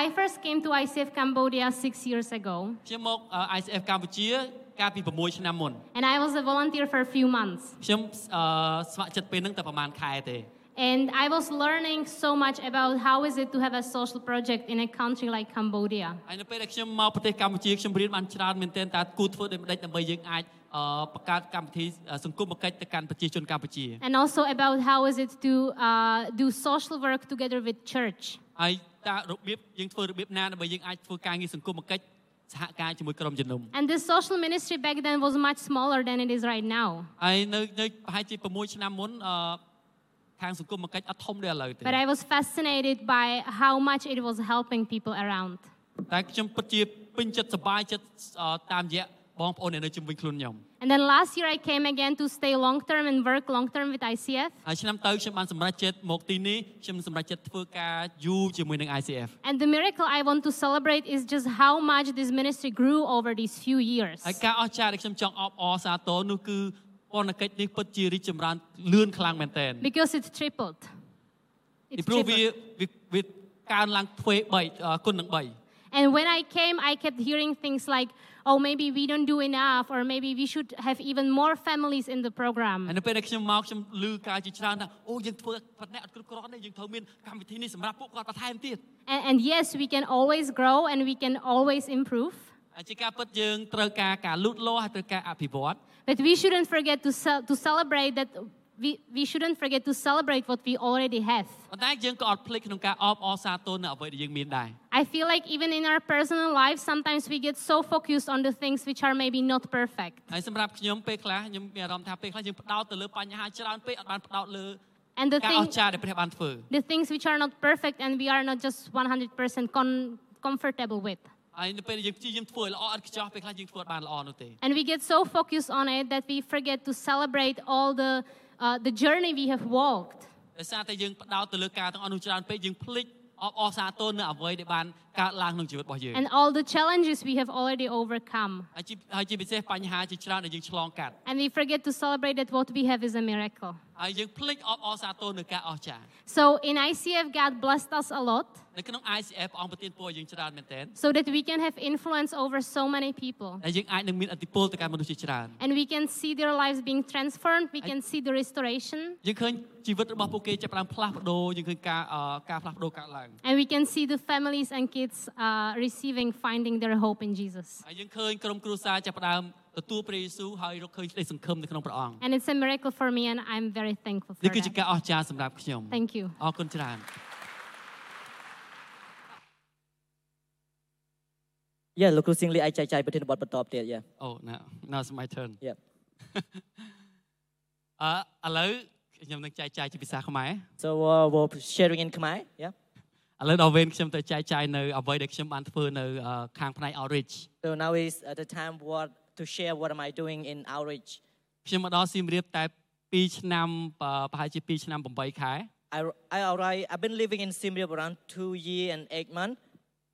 [SPEAKER 7] I first came to ICF Cambodia six years ago,
[SPEAKER 6] ខ្ញុំមកអឺ ICF កម្ពុជា កាលពី6ឆ្នាំមុន
[SPEAKER 7] and I was a volunteer for a few months.
[SPEAKER 6] ខ្ញុំអឺស្ម័គ្រចិត្តពេលហ្នឹងតែប្រហែលខែទេ
[SPEAKER 7] And I was learning so much about how is it to have a social project in a country like Cambodia.
[SPEAKER 6] ហើយនៅពេលដែលខ្ញុំមកប្រទេសកម្ពុជាខ្ញុំរៀនបានច្រើនមែនទែនតើគួរធ្វើដូចម្ដេចដើម្បីយើងអាចអឺបង្កើតកម្មវិធីអឺសង្គមគិច្ចទៅកាន់ប្រជាជនកម្ពុជា
[SPEAKER 7] and also about how is it to uh, do social work together with church.
[SPEAKER 6] ហើយតើរបៀបយើងធ្វើរបៀបណាដើម្បីយើងអាចធ្វើការងារសង្គមគិច្ចសហការជាមួយក្រុមជំនុំ
[SPEAKER 7] And this social ministry back then was much smaller than it is right now.
[SPEAKER 6] ហើយនៅនៅប្រហែលជា6ឆ្នាំមុនអឺខាងសង្គមគិច្ចអត់ធំដូចឥឡូវទេ
[SPEAKER 7] But I was fascinated by how much it was helping people around.
[SPEAKER 6] តែខ្ញុំពិតជាពេញចិត្តសប្បាយចិត្តអឺតាមរយៈ បងប្អូនអ្នកនៅជំនវិញខ្លួនខ្ញុំ
[SPEAKER 7] And then last year I came again to stay long term and work long term with ICF.
[SPEAKER 6] ហើយឆ្នាំទៅខ្ញុំបានសម្រេចចិត្តមកទីនេះខ្ញុំសម្រេចចិត្តធ្វើការយូរជាមួយនឹង ICF
[SPEAKER 7] And the miracle I want to celebrate is just how much this ministry grew over these few years.
[SPEAKER 6] ហើយការអស្ចារ្យដែលខ្ញុំចង់អបអរសាទរនោះគឺប៉ុណ្ណកិច្ចនេះពិតជារីកចម្រើនលឿនខ្លាំងមែនទែន
[SPEAKER 7] Because it tripled.
[SPEAKER 6] ពី
[SPEAKER 7] It
[SPEAKER 6] ព្រោះវា
[SPEAKER 7] tripled.
[SPEAKER 6] វាវាកើនឡើងធ្វើ3គុណនឹង3
[SPEAKER 7] And when I came, I kept hearing things like, oh, maybe we don't do enough, or maybe we should have even more families in the
[SPEAKER 6] ហើយ
[SPEAKER 7] program.
[SPEAKER 6] នៅពេលដែលខ្ញុំមកខ្ញុំឮការជាច្រើនថាអូយើងធ្វើបណ្ណអត់គ្រប់គ្រាន់ទេយើងត្រូវមានកម្មវិធីនេះសម្រាប់ពួកគាត់បន្ថែមទៀត
[SPEAKER 7] And, and yes, we can always grow and we can always improve,
[SPEAKER 6] ហើយជាការពិតយើងត្រូវការការលូតលាស់ហើយត្រូវការអភិវឌ្ឍ
[SPEAKER 7] but we shouldn't forget to, ce- to celebrate that. We, we shouldn't forget to celebrate what we already have.
[SPEAKER 6] ប៉ុន្តែយើងក៏អត់ភ្លេចក្នុងការអបអរសាទរនៅអ្វីដែលយើងមានដែរ
[SPEAKER 7] I feel like even in our personal lives, sometimes we get so focused on the things which are maybe not perfect.
[SPEAKER 6] ហើយសម្រាប់ខ្ញុំពេលខ្លះខ្ញុំមានអារម្មណ៍ថាពេលខ្លះយើងផ្ដោតទៅលើបញ្ហាច្រើនពេកអត់បានផ្ដោតលើ
[SPEAKER 7] And the,
[SPEAKER 6] ការអ
[SPEAKER 7] thing,
[SPEAKER 6] ស្ចារ្យដែលព្រះបានធ្វើ
[SPEAKER 7] the things which are not perfect and we are not just 100% con- comfortable with.
[SPEAKER 6] ហើយនៅពេលដែលយើងព្យាយាមធ្វើឲ្យល្អអត់ខ្ចោះពេលខ្លះយើងធ្វើអត់បានល្អនោះទេ
[SPEAKER 7] And we get so focused on it that we forget to celebrate all the, uh, the journey we have walked.
[SPEAKER 6] ដោយសារតែយើងផ្ដោតទៅលើការទាំងអស់នោះច្រើនពេកយើងភ្លេចអបអរសាទរនៅអ្វីដែលបានកើតឡើងក្នុងជីវិតរបស់យើង
[SPEAKER 7] And all the challenges we have already overcome.
[SPEAKER 6] ហើយជាហើយជាពិសេសបញ្ហាជាច្រើនដែលយើងឆ្លងកាត់
[SPEAKER 7] And we forget to celebrate that what we have is a miracle.
[SPEAKER 6] ហើយយើងភ្លេចអបអរសាទរនៅការអស្ចារ្យ
[SPEAKER 7] So in ICF, God blessed us a lot
[SPEAKER 6] នៅក្នុង ICF ព្រះអង្គប្រទានពរឲ្យយើងច្រើនមែនទែន
[SPEAKER 7] so that we can have influence over so many people.
[SPEAKER 6] ហើយយើងអាចនឹងមានអធិពលទៅកាន់មនុស្សជាច្រើន
[SPEAKER 7] And we can see their lives being transformed. We can see the restoration.
[SPEAKER 6] យើងឃើញជីវិតរបស់ពួកគេចាប់ផ្ដើមផ្លាស់ប្ដូរយើងឃើញការអឺការផ្លាស់ប្ដូរកើតឡើង
[SPEAKER 7] And we can see the families and kids uh, receiving, finding their hope in Jesus.
[SPEAKER 6] ហើយយើងឃើញក្រុមគ្រួសារចាប់ផ្ដើមទទួលព្រះយេស៊ូវហើយរកឃើញក្តីសង្ឃឹមនៅក្នុងព្រះអង្គ
[SPEAKER 7] And it's a miracle for me, and I'm very thankful for
[SPEAKER 6] នេះគឺជា
[SPEAKER 7] that.
[SPEAKER 6] ការអស្ចារ្យសម្រាប់ខ្ញុំ
[SPEAKER 7] Thank you.
[SPEAKER 6] អរគុណច្រើន
[SPEAKER 5] យ៉ាលោកគ្រូសៀងលីអាចចែកចាយប្រធានបទបន្តទៀតយ៉ា
[SPEAKER 6] អូ now now it's my turn
[SPEAKER 5] យ៉ា
[SPEAKER 6] អឺឥឡូវខ្ញុំនឹងចែកចាយជាភាសាខ្មែរ
[SPEAKER 5] so uh, we're sharing in Khmer យ៉ា
[SPEAKER 6] ឥឡូវដល់វេនខ្ញុំទៅចែកចាយនៅអ្វីដែលខ្ញុំបានធ្វើនៅអឺខាងផ្នែក outreach
[SPEAKER 5] so now is uh, the time what to share what am I doing in outreach
[SPEAKER 6] ខ្ញុំមកដល់សៀមរាបតែ2ឆ្នាំប្រប្រហែលជា2ឆ្នាំ8ខែ
[SPEAKER 5] I I alright I've been living in Siem Reap around 2 year and 8 month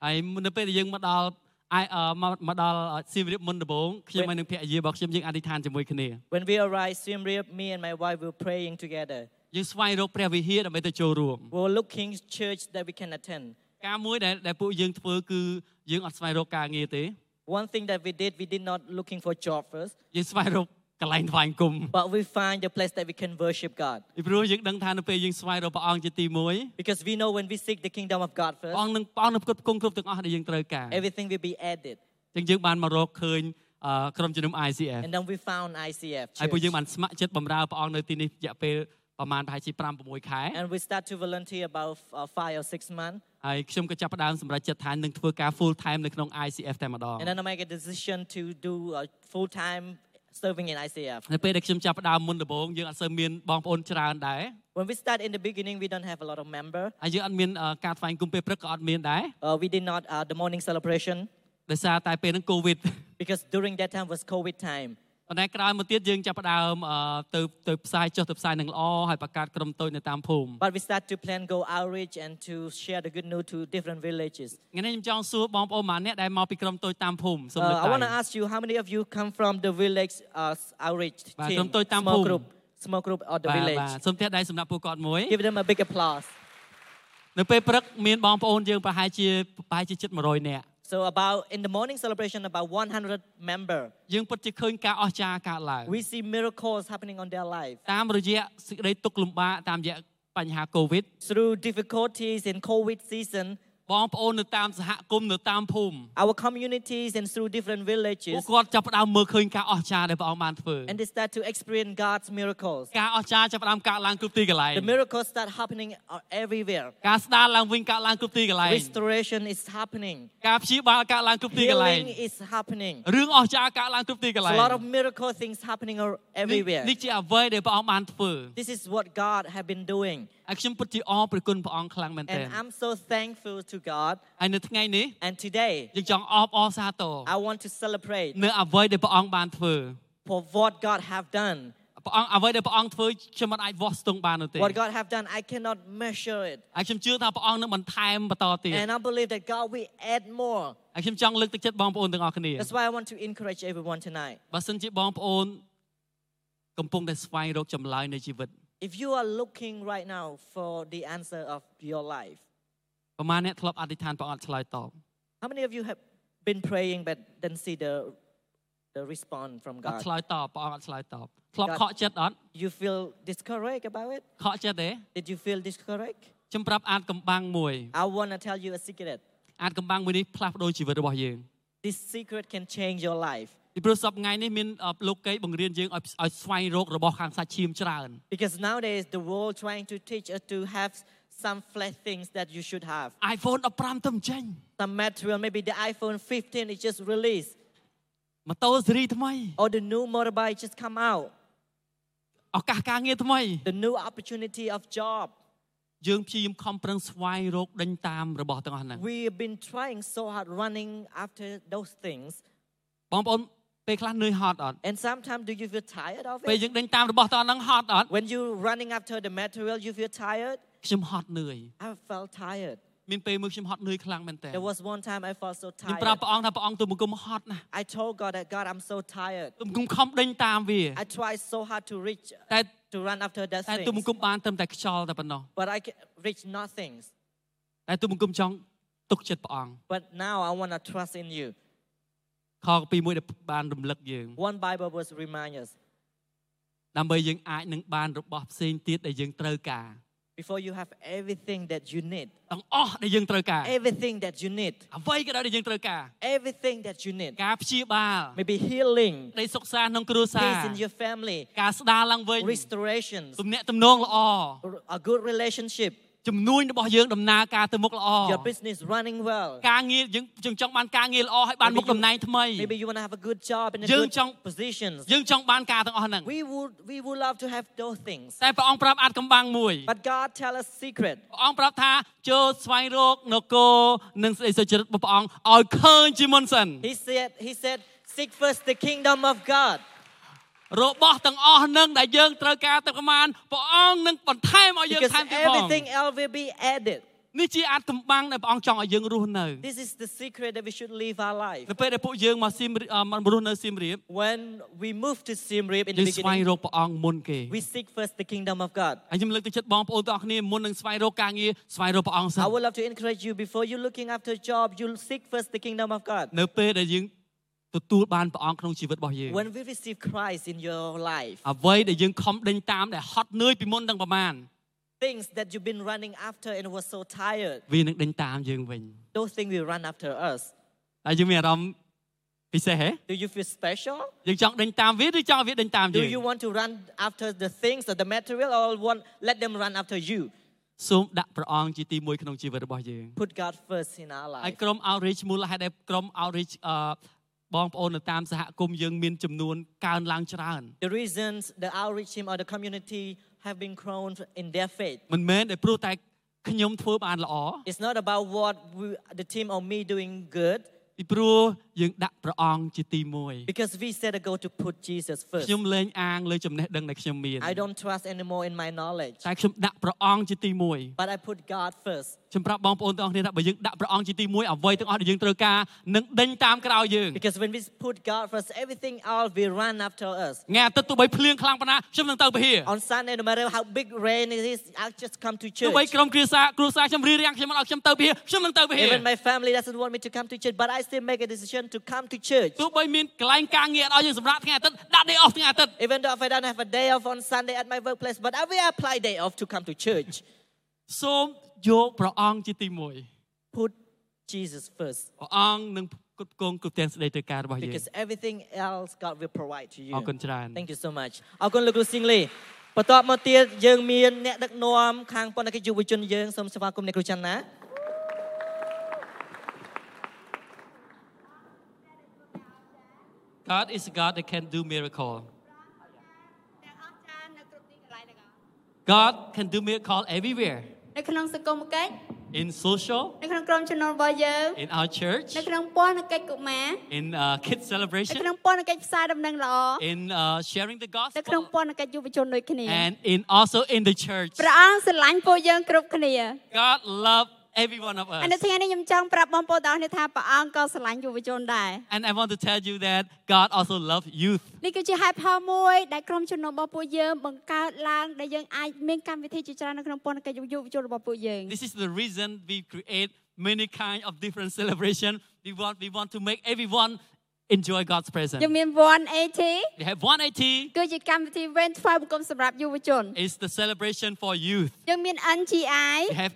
[SPEAKER 6] ហើយនៅពេលដែលយើងមកដល់អាយអឺមកមកដល់សៀមរាបមុនដំបូងខ្ញុំហើយនឹងភរិយារបស់ខ្ញុំយើងអធិដ្ឋានជាមួយគ្នា
[SPEAKER 5] when we arrived Siem Reap me and my wife were praying together
[SPEAKER 6] យើងស្វែងរកព្រះវិហារដើម្បីទៅចូលរួម
[SPEAKER 5] we were looking church that we can attend
[SPEAKER 6] ការមួយដែលដែលពួកយើងធ្វើគឺយើងអត់ស្វែងរកការងារទេ
[SPEAKER 5] One thing that we did, we did not looking for job first,
[SPEAKER 6] យើងស្វែងរកកន្លែងថ្វាយបង្គំ
[SPEAKER 5] but we find the place that we can worship God.
[SPEAKER 6] ពីព្រោះយើងដឹងថានៅពេលយើងស្វែងរកព្រះអង្គជាទីមួយ
[SPEAKER 5] Because we know when we seek the kingdom of God
[SPEAKER 6] ព្រះ
[SPEAKER 5] first,
[SPEAKER 6] អង្គនឹងព្រះអង្គនឹងផ្គត់ផ្គង់គ្រប់ទាំងអស់ដែលយើងត្រូវការ
[SPEAKER 5] everything will be added.
[SPEAKER 6] អញ្ចឹងយើងបានមករកឃើញអឺក្រុមជំនុំ ICF
[SPEAKER 5] And then we found ICF
[SPEAKER 6] ហើយពួកយើង
[SPEAKER 5] church.
[SPEAKER 6] បានស្ម័គ្រចិត្តបម្រើព្រះអង្គនៅទីនេះរយៈពេលប្រហែលប្រហែលជា5 6ខែ
[SPEAKER 5] And we start to volunteer about uh, five or six months.
[SPEAKER 6] ហើយខ្ញុំក៏ចាប់ផ្ដើមសម្រេចចិត្តថានឹងធ្វើការ full time នៅក្នុង ICF តែម្ដង
[SPEAKER 5] And then I make a decision to do uh, full time serving in ICF.
[SPEAKER 6] នៅពេលដែលខ្ញុំចាប់ផ្ដើមមុនដំបូងយើងអត់សូវមានបងប្អូនច្រើនដែរ
[SPEAKER 5] When we start in the beginning, we don't have a lot of member.
[SPEAKER 6] ហើយយើងអត់មានអឺការថ្វាយគុំពេលព្រឹកក៏អត់មានដែរ
[SPEAKER 5] Uh, we did not uh, the morning celebration
[SPEAKER 6] ដោយសារតែពេលហ្នឹង COVID [LAUGHS]
[SPEAKER 5] because during that time was COVID time.
[SPEAKER 6] ប៉ុន្តែក្រោយមកទៀតយើងចាប់ផ្ដើមអឺទៅទៅផ្សាយចុះទៅផ្សាយនឹងល្អហើយបង្កើតក្រុមតូចនៅតាមភូមិ
[SPEAKER 5] But we start to plan go outreach and to share the good news to different villages.
[SPEAKER 6] ថ្ងៃនេះខ្ញុំចង់សួរបងប្អូនម៉ាអ្នកដែលមកពីក្រុមតូចតាមភូមិសូម
[SPEAKER 5] Uh,
[SPEAKER 6] លើក
[SPEAKER 5] I want
[SPEAKER 6] ដៃ
[SPEAKER 5] to ask you, how many of you come from the village uh, outreach
[SPEAKER 6] Và
[SPEAKER 5] team,
[SPEAKER 6] chúng tôi tam
[SPEAKER 5] small
[SPEAKER 6] hùng.
[SPEAKER 5] group, small group or the
[SPEAKER 6] បាទ
[SPEAKER 5] village?
[SPEAKER 6] បាទសូមផ្ទះដៃសម្រាប់ពួកគាត់មួយ
[SPEAKER 5] Give them a big applause.
[SPEAKER 6] នៅពេលព្រឹកមានបងប្អូនយើងប្រហែលជាប្រហែលជាជិត100នាក់
[SPEAKER 5] So about in the morning celebration, about 100 member.
[SPEAKER 6] យើងពិតជាឃើញការអស្ចារ្យកើតឡើង
[SPEAKER 5] We see miracles happening on their life
[SPEAKER 6] តាមរយៈសេចក្តីទុក្ខលំបាកតាមរយៈបញ្ហា COVID
[SPEAKER 5] through difficulties in COVID season.
[SPEAKER 6] បងប្អូននៅតាមសហគមន៍នៅតាមភូមិ
[SPEAKER 5] Our communities and through different
[SPEAKER 6] ពួក
[SPEAKER 5] villages,
[SPEAKER 6] គាត់ចាប់ផ្ដើមមើលឃើញការអស្ចារ្យដែលព្រះអង្គបានធ្វើ
[SPEAKER 5] and they start to experience God's miracles.
[SPEAKER 6] ការអស្ចារ្យចាប់ផ្ដើមកើតឡើងគ្រប់ទីកន្លែង
[SPEAKER 5] The miracles start happening uh, everywhere.
[SPEAKER 6] ការស្ដារឡើងវិញកើតឡើងគ្រប់ទីកន្លែង
[SPEAKER 5] Restoration is happening.
[SPEAKER 6] ការព្យាបាលកើតឡើងគ្រប់ទីកន្លែង
[SPEAKER 5] Healing is happening.
[SPEAKER 6] រឿងអស្ចារ្យកើតឡើងគ្រប់ទីកន្លែ
[SPEAKER 5] There's
[SPEAKER 6] ង
[SPEAKER 5] a lot of miracle things happening ar-
[SPEAKER 6] នេះ
[SPEAKER 5] everywhere.
[SPEAKER 6] នេះជាអ្វីដែលព្រះអង្គបានធ្វើ
[SPEAKER 5] This is what God have been doing.
[SPEAKER 6] ហើយខ្ញុំពិតជាអរព្រះគុណព្រះអង្គខ្លាំងមែនទែន
[SPEAKER 5] And I'm so thankful to to God.
[SPEAKER 6] ហើយនៅថ្ងៃនេះ
[SPEAKER 5] And today,
[SPEAKER 6] យើងចង់អបអរសាទរ
[SPEAKER 5] I want to celebrate
[SPEAKER 6] នៅអ្វីដែលព្រះអង្គបានធ្វើ
[SPEAKER 5] for what God have done.
[SPEAKER 6] ព្រះអង្គអ្វីដែលព្រះអង្គធ្វើខ្ញុំមិនអាចវាស់ស្ទង់បាននោះទេ
[SPEAKER 5] What God have done, I cannot measure it.
[SPEAKER 6] ហើយខ្ញុំជឿថាព្រះអង្គនឹងបន្ថែមបន្តទៀត
[SPEAKER 5] And I believe that God will add more.
[SPEAKER 6] ហើយខ្ញុំចង់លើកទឹកចិត្តបងប្អូនទាំងអស់គ្នា
[SPEAKER 5] That's why I want to encourage everyone tonight.
[SPEAKER 6] បើសិនជាបងប្អូនកំពុងតែស្វែងរកចម្លើយនៃជីវិត
[SPEAKER 5] If you are looking right now for the answer of your life,
[SPEAKER 6] ប្រហែលអ្នកធ្លាប់អធិដ្ឋានព្រះអង្គអត់ឆ្លើយតប
[SPEAKER 5] how many of you have been praying but didn't see the, the response from
[SPEAKER 6] អត់
[SPEAKER 5] God?
[SPEAKER 6] ឆ្លើយតបព្រះអង្គអត់ឆ្លើយតបធ្លាប់ខកចិត្តអត់
[SPEAKER 5] You feel discouraged about it?
[SPEAKER 6] ខកចិត្តទេ
[SPEAKER 5] Did you feel discouraged?
[SPEAKER 6] ខ្ញុំប្រាប់អាចកំបាំងមួយ
[SPEAKER 5] I want to tell you a secret.
[SPEAKER 6] អាចកំបាំងមួយនេះផ្លាស់ប្ដូរជីវិតរបស់យើង
[SPEAKER 5] This secret can change your life
[SPEAKER 6] ពីព្រោះសប្ដថ្ងៃនេះមានអឺលោកកេបង្រៀនយើងឲ្យឲ្យស្វែងរករបស់ខាងសាច់ឈាមច្រើន
[SPEAKER 5] because nowadays the world trying to teach us to have some flat things that you should have.
[SPEAKER 6] iPhone 15ទៅមិនចេញ
[SPEAKER 5] Some material, maybe the iPhone 15 is just released
[SPEAKER 6] ម៉ូតូស៊េរីថ្មី
[SPEAKER 5] or the new motorbike just come out,
[SPEAKER 6] ឱកាសការងារថ្មី
[SPEAKER 5] the new opportunity of job.
[SPEAKER 6] យើងព្យាយាមខំប្រឹងស្វែងរកដេញតាមរបស់ទាំងអស់ហ្នឹង
[SPEAKER 5] We have been trying so hard running after those things.
[SPEAKER 6] បងប្អូនពេលខ្លះនឿយហត់អត់
[SPEAKER 5] And sometimes do you feel tired of
[SPEAKER 6] ពេលយើ
[SPEAKER 5] it?
[SPEAKER 6] ងដេញតាមរបស់ទាំងអស់ហ្នឹងហត់អត់
[SPEAKER 5] When you're running after the material, you feel tired?
[SPEAKER 6] ខ្ញុំហត់នឿយ
[SPEAKER 5] I felt tired.
[SPEAKER 6] មានពេលមួយខ្ញុំហត់នឿយខ្លាំងមែនតើ
[SPEAKER 5] There was one time I felt so
[SPEAKER 6] ខ្ញុំប្រាប់
[SPEAKER 5] tired.
[SPEAKER 6] ព្រះអង្គថាព្រះអង្គទូលបង្គំហត់ណាស់
[SPEAKER 5] I told God that God, I'm so tired.
[SPEAKER 6] ទូលបង្គំខំដេញតាមវា
[SPEAKER 5] I tried so hard to reach
[SPEAKER 6] តែ
[SPEAKER 5] to run after that
[SPEAKER 6] តែទូលប
[SPEAKER 5] thing,
[SPEAKER 6] ង្គំបានត្រឹមតែខ្យល់តែប៉ុណ្ណោះ
[SPEAKER 5] but I ca- reached nothing.
[SPEAKER 6] តែទូលបង្គំចង់ទុកចិត្តព្រះអង្គ
[SPEAKER 5] But now I want to trust in you.
[SPEAKER 6] ខពីមួយដែលបានរំលឹកយើង
[SPEAKER 5] One Bible verse reminds us:
[SPEAKER 6] ដើម្បីយើងអាចនឹងបានរបស់ផ្សេងទៀតដែលយើងត្រូវការ
[SPEAKER 5] before you have everything that you need,
[SPEAKER 6] ទាំងអស់ដែលយើងត្រូវការ
[SPEAKER 5] everything that you need,
[SPEAKER 6] អ្វីក៏ដោយដែលយើងត្រូវការ
[SPEAKER 5] everything that you need,
[SPEAKER 6] ការព្យាបាល
[SPEAKER 5] maybe healing,
[SPEAKER 6] នៃសុខសាន្តក្នុងគ្រួសារ
[SPEAKER 5] peace in your family,
[SPEAKER 6] ការស្ដារឡើងវិញ
[SPEAKER 5] restorations,
[SPEAKER 6] ទំនាក់ទំនងល្អ
[SPEAKER 5] r- a good relationship,
[SPEAKER 6] ជំនួយរបស់យើងដំណើរការទៅមុខល្អ
[SPEAKER 5] your business running well.
[SPEAKER 6] ការងារយើងយើងចង់បានការងារល្អហើយបានមុខតំណែងថ្មី
[SPEAKER 5] Maybe you want to have a good job and a
[SPEAKER 6] Dương
[SPEAKER 5] good
[SPEAKER 6] trong-
[SPEAKER 5] positions.
[SPEAKER 6] យើងចង់បានការទាំងអស់ហ្នឹង
[SPEAKER 5] We would we would love to have those things.
[SPEAKER 6] តែព្រះអង្គប្រាប់អាចកំបាំងមួយ
[SPEAKER 5] But God tell us secret.
[SPEAKER 6] ព្រះអង្គប្រាប់ថាចូលស្វែងរកនគរនិងសេចក្តីសុចរិតរបស់ព្រះអង្គឲ្យឃើញជាមុនសិន
[SPEAKER 5] He said, He said, seek first the kingdom of God.
[SPEAKER 6] របស់ទាំងអស់នឹងដែលយើងត្រូវការទឹកប្រមាណព្រះអង្គនឹងបន្ថែមឲ្យយើង
[SPEAKER 5] Because
[SPEAKER 6] ថែមទៀតផង
[SPEAKER 5] everything else will be added.
[SPEAKER 6] នេះជាអាចកំបាំងដែលព្រះអង្គចង់ឲ្យយើងរស់នៅ
[SPEAKER 5] This is the secret that we should live our life.
[SPEAKER 6] នៅពេលដែលពួកយើងមកស៊ីមរាបអឺមករស់នៅស៊ីមរាប
[SPEAKER 5] When we move to Siem Reap in
[SPEAKER 6] យើ
[SPEAKER 5] the
[SPEAKER 6] ងស្វែង
[SPEAKER 5] beginning,
[SPEAKER 6] រកព្រះអង្គមុនគេហើ
[SPEAKER 5] we seek first the kingdom of God.
[SPEAKER 6] យខ្ញុំលើកទឹកចិត្តបងប្អូនទាំងអស់គ្នាមុននឹងស្វែងរកការងារស្វែងរកព្រះអង្គសិន
[SPEAKER 5] I would love to encourage you before you looking after a job, you seek first the kingdom of God.
[SPEAKER 6] នៅពេលដែលយើងទទួលបានព្រះអង្គក្នុងជីវិតរបស់យើង
[SPEAKER 5] When we receive Christ in your life,
[SPEAKER 6] អ្វីដែលយើងខំដេញតាមដែលហត់នឿយពីមុនទាំងប្រមាណ
[SPEAKER 5] things that you've been running after and were so tired,
[SPEAKER 6] វានឹងដេញតាមយើងវិញ
[SPEAKER 5] those things will run after us.
[SPEAKER 6] ហើយយើងមានអារម្មណ៍ពិសេសហេ
[SPEAKER 5] Do you feel special?
[SPEAKER 6] យើងចង់ដេញតាមវាឬចង់ឲ្យវាដេញតាមយើ
[SPEAKER 5] Do
[SPEAKER 6] ង
[SPEAKER 5] you want to run after the things or the material or want, let them run after you?
[SPEAKER 6] សូមដាក់ព្រះអង្គជាទីមួយក្នុងជីវិតរបស់យើង
[SPEAKER 5] Put God first in our
[SPEAKER 6] ហើយ
[SPEAKER 5] life.
[SPEAKER 6] ក្រុម outreach មូលហេតុដែលក្រុម outreach អឺបងប្អូននៅតាមសហគមន៍យើងមានចំនួនកើនឡើងច្រើន
[SPEAKER 5] The reasons the outreach team or the community have been grown in their faith.
[SPEAKER 6] មិនមែនតែព្រោះតែខ្ញុំធ្វើបានល្អ
[SPEAKER 5] It's not about what we, the team or me doing good,
[SPEAKER 6] ពីព្រោះយើងដាក់ព្រះអង្គជាទីមួយ
[SPEAKER 5] because we set a goal to put Jesus first.
[SPEAKER 6] ខ្ញុំលែងអាងលើចំណេះដឹងដែលខ្ញុំមាន
[SPEAKER 5] I don't trust anymore in my knowledge,
[SPEAKER 6] តែខ្ញុំដាក់ព្រះអង្គជាទីមួយ
[SPEAKER 5] but I put God first.
[SPEAKER 6] ខ្ញុំប្រាប់បងប្អូនទាំងអស់គ្នាថាបើយើងដាក់ព្រះអង្គជាទីមួយអ្វីទាំងអស់ដែលយើងត្រូវការនឹងដេញតាមក្រោយយើង
[SPEAKER 5] Because when we put God first, everything else will run after us.
[SPEAKER 6] ថ្ងៃអាទិត្យទោះបីភ្លៀងខ្លាំងប៉ុណ្ណាខ្ញុំនឹងទៅពហិរ
[SPEAKER 5] On Sunday, no matter how big rain it is, I just come to
[SPEAKER 6] ទោះបី
[SPEAKER 5] church.
[SPEAKER 6] ក្រុមគ្រួសារគ្រួសារខ្ញុំរៀបរៀងខ្ញុំមិនឲ្យខ្ញុំទៅពហិរខ្ញុំនឹងទៅពហិរ
[SPEAKER 5] Even my family doesn't want me to come to church, but I still make a decision to come to church.
[SPEAKER 6] ទោះបីមានកន្លែងការងារឲ្យយើងសម្រាប់ថ្ងៃអាទិត្យដាក់ day off ថ្ងៃអាទិត្យ
[SPEAKER 5] Even though if I don't have a day off on Sunday at my workplace, but I will apply day off to come to church.
[SPEAKER 6] សូមយកព្រះអង្គជាទីមួយ
[SPEAKER 5] Put Jesus first,
[SPEAKER 6] ព្រះអង្គនឹងគ្រប់គ្រងគ្រប់ទាំងសេចក្តីត្រូវការរបស់យើង
[SPEAKER 5] because everything else God will provide to you.
[SPEAKER 6] អរគុណច្រើន
[SPEAKER 5] Thank you so much អរគុណលោកគ្រូស៊ីងលីបន្តមកទៀតយើងមានអ្នកដឹកនាំខាងបណ្ឌិតយុវជនយើងសូមស្វាគមន៍អ្នកគ្រូច័ន្ទណា
[SPEAKER 6] God is a God that can do miracle God can do miracle everywhere
[SPEAKER 8] នៅក្នុងសង្គមកិច្ច
[SPEAKER 6] in social,
[SPEAKER 8] នៅក្នុងក្រុមជំនុំរបស់យើង
[SPEAKER 6] in our church,
[SPEAKER 8] នៅក្នុងពរណកិច្ចកុមារ
[SPEAKER 6] in uh, kids
[SPEAKER 8] នៅ
[SPEAKER 6] celebration,
[SPEAKER 8] ក្នុងពរណកិច្ចផ្សាយដំណឹងល្អ
[SPEAKER 6] in uh, sharing the
[SPEAKER 8] នៅក្នុង
[SPEAKER 6] gospel,
[SPEAKER 8] ពរណកិច្ចយុវជនដូចគ្នា
[SPEAKER 6] and in also in the church.
[SPEAKER 8] ព្រះអង្គស្រឡាញ់ពួកយើងគ្រប់គ្នា
[SPEAKER 6] God love every one of
[SPEAKER 8] ហើយ
[SPEAKER 6] us.
[SPEAKER 8] នៅថ្ងៃនេះខ្ញុំចង់ប្រាប់បងប្អូនទាំងអស់គ្នាថាព្រះអង្គក៏ស្រឡាញ់យុវជនដែរ
[SPEAKER 6] And I want to tell you that God also loves youth.
[SPEAKER 8] នេះគឺជាហេតុផលមួយដែលក្រុមជំនុំរបស់ពួកយើងបង្កើតឡើងដែលយើងអាចមានកម្មវិធីជាច្រើននៅក្នុងពរណកិច្ចយុវជនរបស់ពួកយើង
[SPEAKER 6] This is the reason we create many kind of different celebration. We want we want to make everyone enjoy God's
[SPEAKER 8] យើង
[SPEAKER 6] presence.
[SPEAKER 8] មាន180
[SPEAKER 6] We have 180
[SPEAKER 8] គឺជាកម្មវិធី Event ថ្វាយបង្គំសម្រាប់យុវជន
[SPEAKER 6] is the celebration for youth.
[SPEAKER 8] យើងមាន NGI
[SPEAKER 6] We have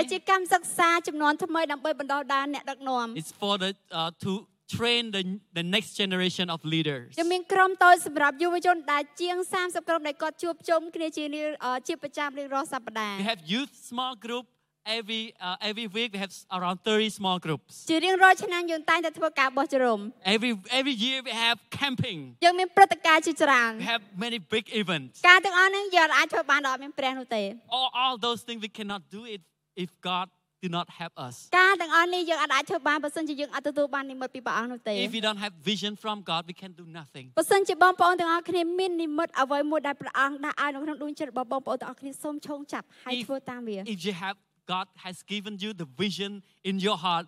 [SPEAKER 8] ដែលជា
[SPEAKER 6] NGI.
[SPEAKER 8] កម្មសិក្សាចំនួនថ្មីដើម្បីបណ្ដុះដាលអ្នកដឹកនាំ
[SPEAKER 6] It's for the uh, to train the, the next generation of leaders.
[SPEAKER 8] យើងមានក្រុមតូចសម្រាប់យុវជនដែលជាង30ក្រុមដែលគាត់ជួបជុំគ្នាជារៀងអឺជាប្រចាំរៀងរាល់សប្តាហ៍
[SPEAKER 6] We have youth small group every uh, every week. We have s- around 30 small groups.
[SPEAKER 8] ជារៀងរាល់ឆ្នាំយើងតែងតែធ្វើការបោះជំរំ
[SPEAKER 6] Every every year we have camping.
[SPEAKER 8] យើងមានព្រឹត្តិការណ៍ជាច្រើន
[SPEAKER 6] We have many big events.
[SPEAKER 8] ការទាំងអស់ហ្នឹងយើងអាចធ្វើបានដល់អត់មានព្រះនោះទេ
[SPEAKER 6] all, all those things we cannot do it if God do not have us.
[SPEAKER 8] ការទាំងអស់នេះយើងអត់អាចធ្វើបានបើសិនជាយើងអត់ទទួលបាននិមិត្តពីព្រះអង្គនោះទេ
[SPEAKER 6] If we don't have vision from God, we can do nothing.
[SPEAKER 8] បើសិនជាបងប្អូនទាំងអស់គ្នាមាននិមិត្តអ្វីមួយដែលព្រះអង្គដាក់ឲ្យនៅក្នុងដួងចិត្តរបស់បងប្អូនទាំងអស់គ្នាសូមឆោងចាប់ហើយ
[SPEAKER 6] If-
[SPEAKER 8] ធ្វើតាមវា
[SPEAKER 6] If you have God has given you the vision in your heart,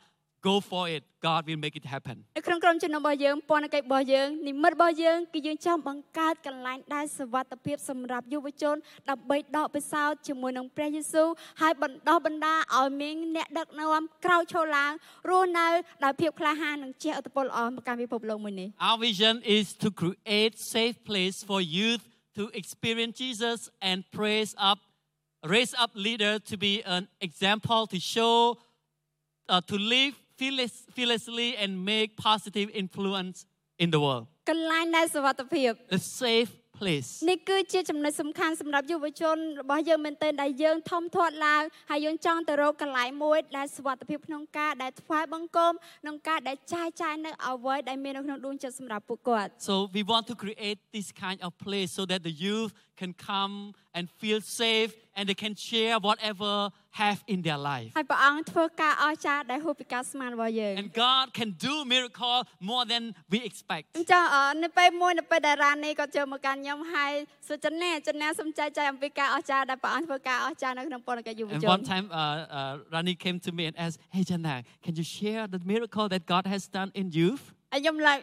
[SPEAKER 6] go for it. God will make it happen.
[SPEAKER 8] នៅក្នុងក្រុមជំនុំរបស់យើងពន្ធកិច្ចរបស់យើងនិមិត្តរបស់យើងគឺយើងចង់បង្កើតកន្លែងដែលសវត្ថិភាពសម្រាប់យុវជនដើម្បីដកពិសោធន៍ជាមួយនឹងព្រះយេស៊ូវហើយបណ្ដោះបណ្ដាលឲ្យមានអ្នកដឹកនាំក្រោយឈរឡើងរស់នៅដោយភាពក្លាហាននិងជាអត្តពលល្អមកកាន់ពិភពលោកមួយនេះ
[SPEAKER 6] Our vision is to create safe place for youth to experience Jesus and praise up, raise up leader to be an example to show, uh, to live fearless, fearlessly and make positive influence in the world.
[SPEAKER 8] កន្លែងដែលសវត្ថិភាព
[SPEAKER 6] The safe place.
[SPEAKER 8] នេះគឺជាចំណុចសំខាន់សម្រាប់យុវជនរបស់យើងមែនទែនដែលយើងធំធាត់ឡើងហើយយើងចង់ទៅរកកន្លែងមួយដែលសុវត្ថិភាពក្នុងការដែលថ្វាយបង្គំក្នុងការដែលចាយចាយនៅអ្វីដែលមាននៅក្នុងដួងចិត្តសម្រាប់ពួកគាត់
[SPEAKER 6] So we want to create this kind of place so that the youth can come and feel safe and they can share whatever have in their life.
[SPEAKER 8] ហើយព្រះអង្គធ្វើការអស្ចារ្យដែលហួសពីការស្មានរបស់យើង
[SPEAKER 6] And God can do miracle more than we expect.
[SPEAKER 8] អញ្ចឹងអឺនៅពេលមួយនៅពេលដែលរ៉ានីគាត់ចូលមកកាន់ខ្ញុំហើយសុចិនាចិនាសូមចែកចាយអំពីការអស្ចារ្យដែលព្រះអង្គធ្វើការអស្ចារ្យនៅក្នុងពលរដ្ឋយុវ
[SPEAKER 6] And
[SPEAKER 8] ជន
[SPEAKER 6] one time, uh, uh, Rani came to me and asked, "Hey Jana, can you share the miracle that God has done in youth?"
[SPEAKER 8] ហើយខ្ញុំឡើង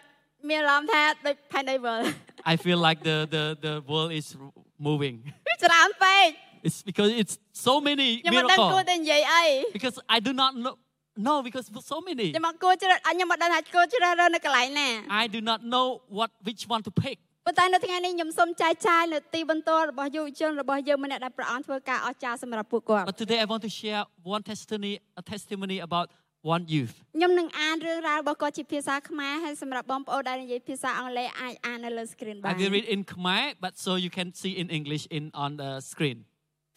[SPEAKER 8] មានអារម្មណ៍ថាដូចផៃនៃវល់
[SPEAKER 6] I feel like the the, the world is r- moving. [LAUGHS]
[SPEAKER 8] វាច្រើនពេក
[SPEAKER 6] It's because it's so many
[SPEAKER 8] ខ្ញុំមិនដឹងគួរ
[SPEAKER 6] miracles.
[SPEAKER 8] តែនិយាយអី
[SPEAKER 6] Because I do not know, no, because so many.
[SPEAKER 8] ខ្ញុំមកគួរជ្រើសអញខ្ញុំមិនដឹងថាគួរជ្រើសរើសនៅកន្លែងណា
[SPEAKER 6] I do not know what which one to pick.
[SPEAKER 8] ប៉ុន្តែនៅថ្ងៃនេះខ្ញុំសូមចែកចាយនៅទីបន្ទាល់របស់យុវជនរបស់យើងម្នាក់ដែលព្រះអង្គធ្វើការអស្ចារ្យសម្រាប់ពួកគាត់
[SPEAKER 6] But today I want to share one testimony, a testimony about one youth.
[SPEAKER 8] ខ្ញុំនឹងអានរឿងរ៉ាវរបស់គាត់ជាភាសាខ្មែរហើយសម្រាប់បងប្អូនដែលនិយាយភាសាអង់គ្លេសអាចអាននៅលើ screen បា
[SPEAKER 6] I
[SPEAKER 8] ន
[SPEAKER 6] will read in Khmer, but so you can see in English in on the screen.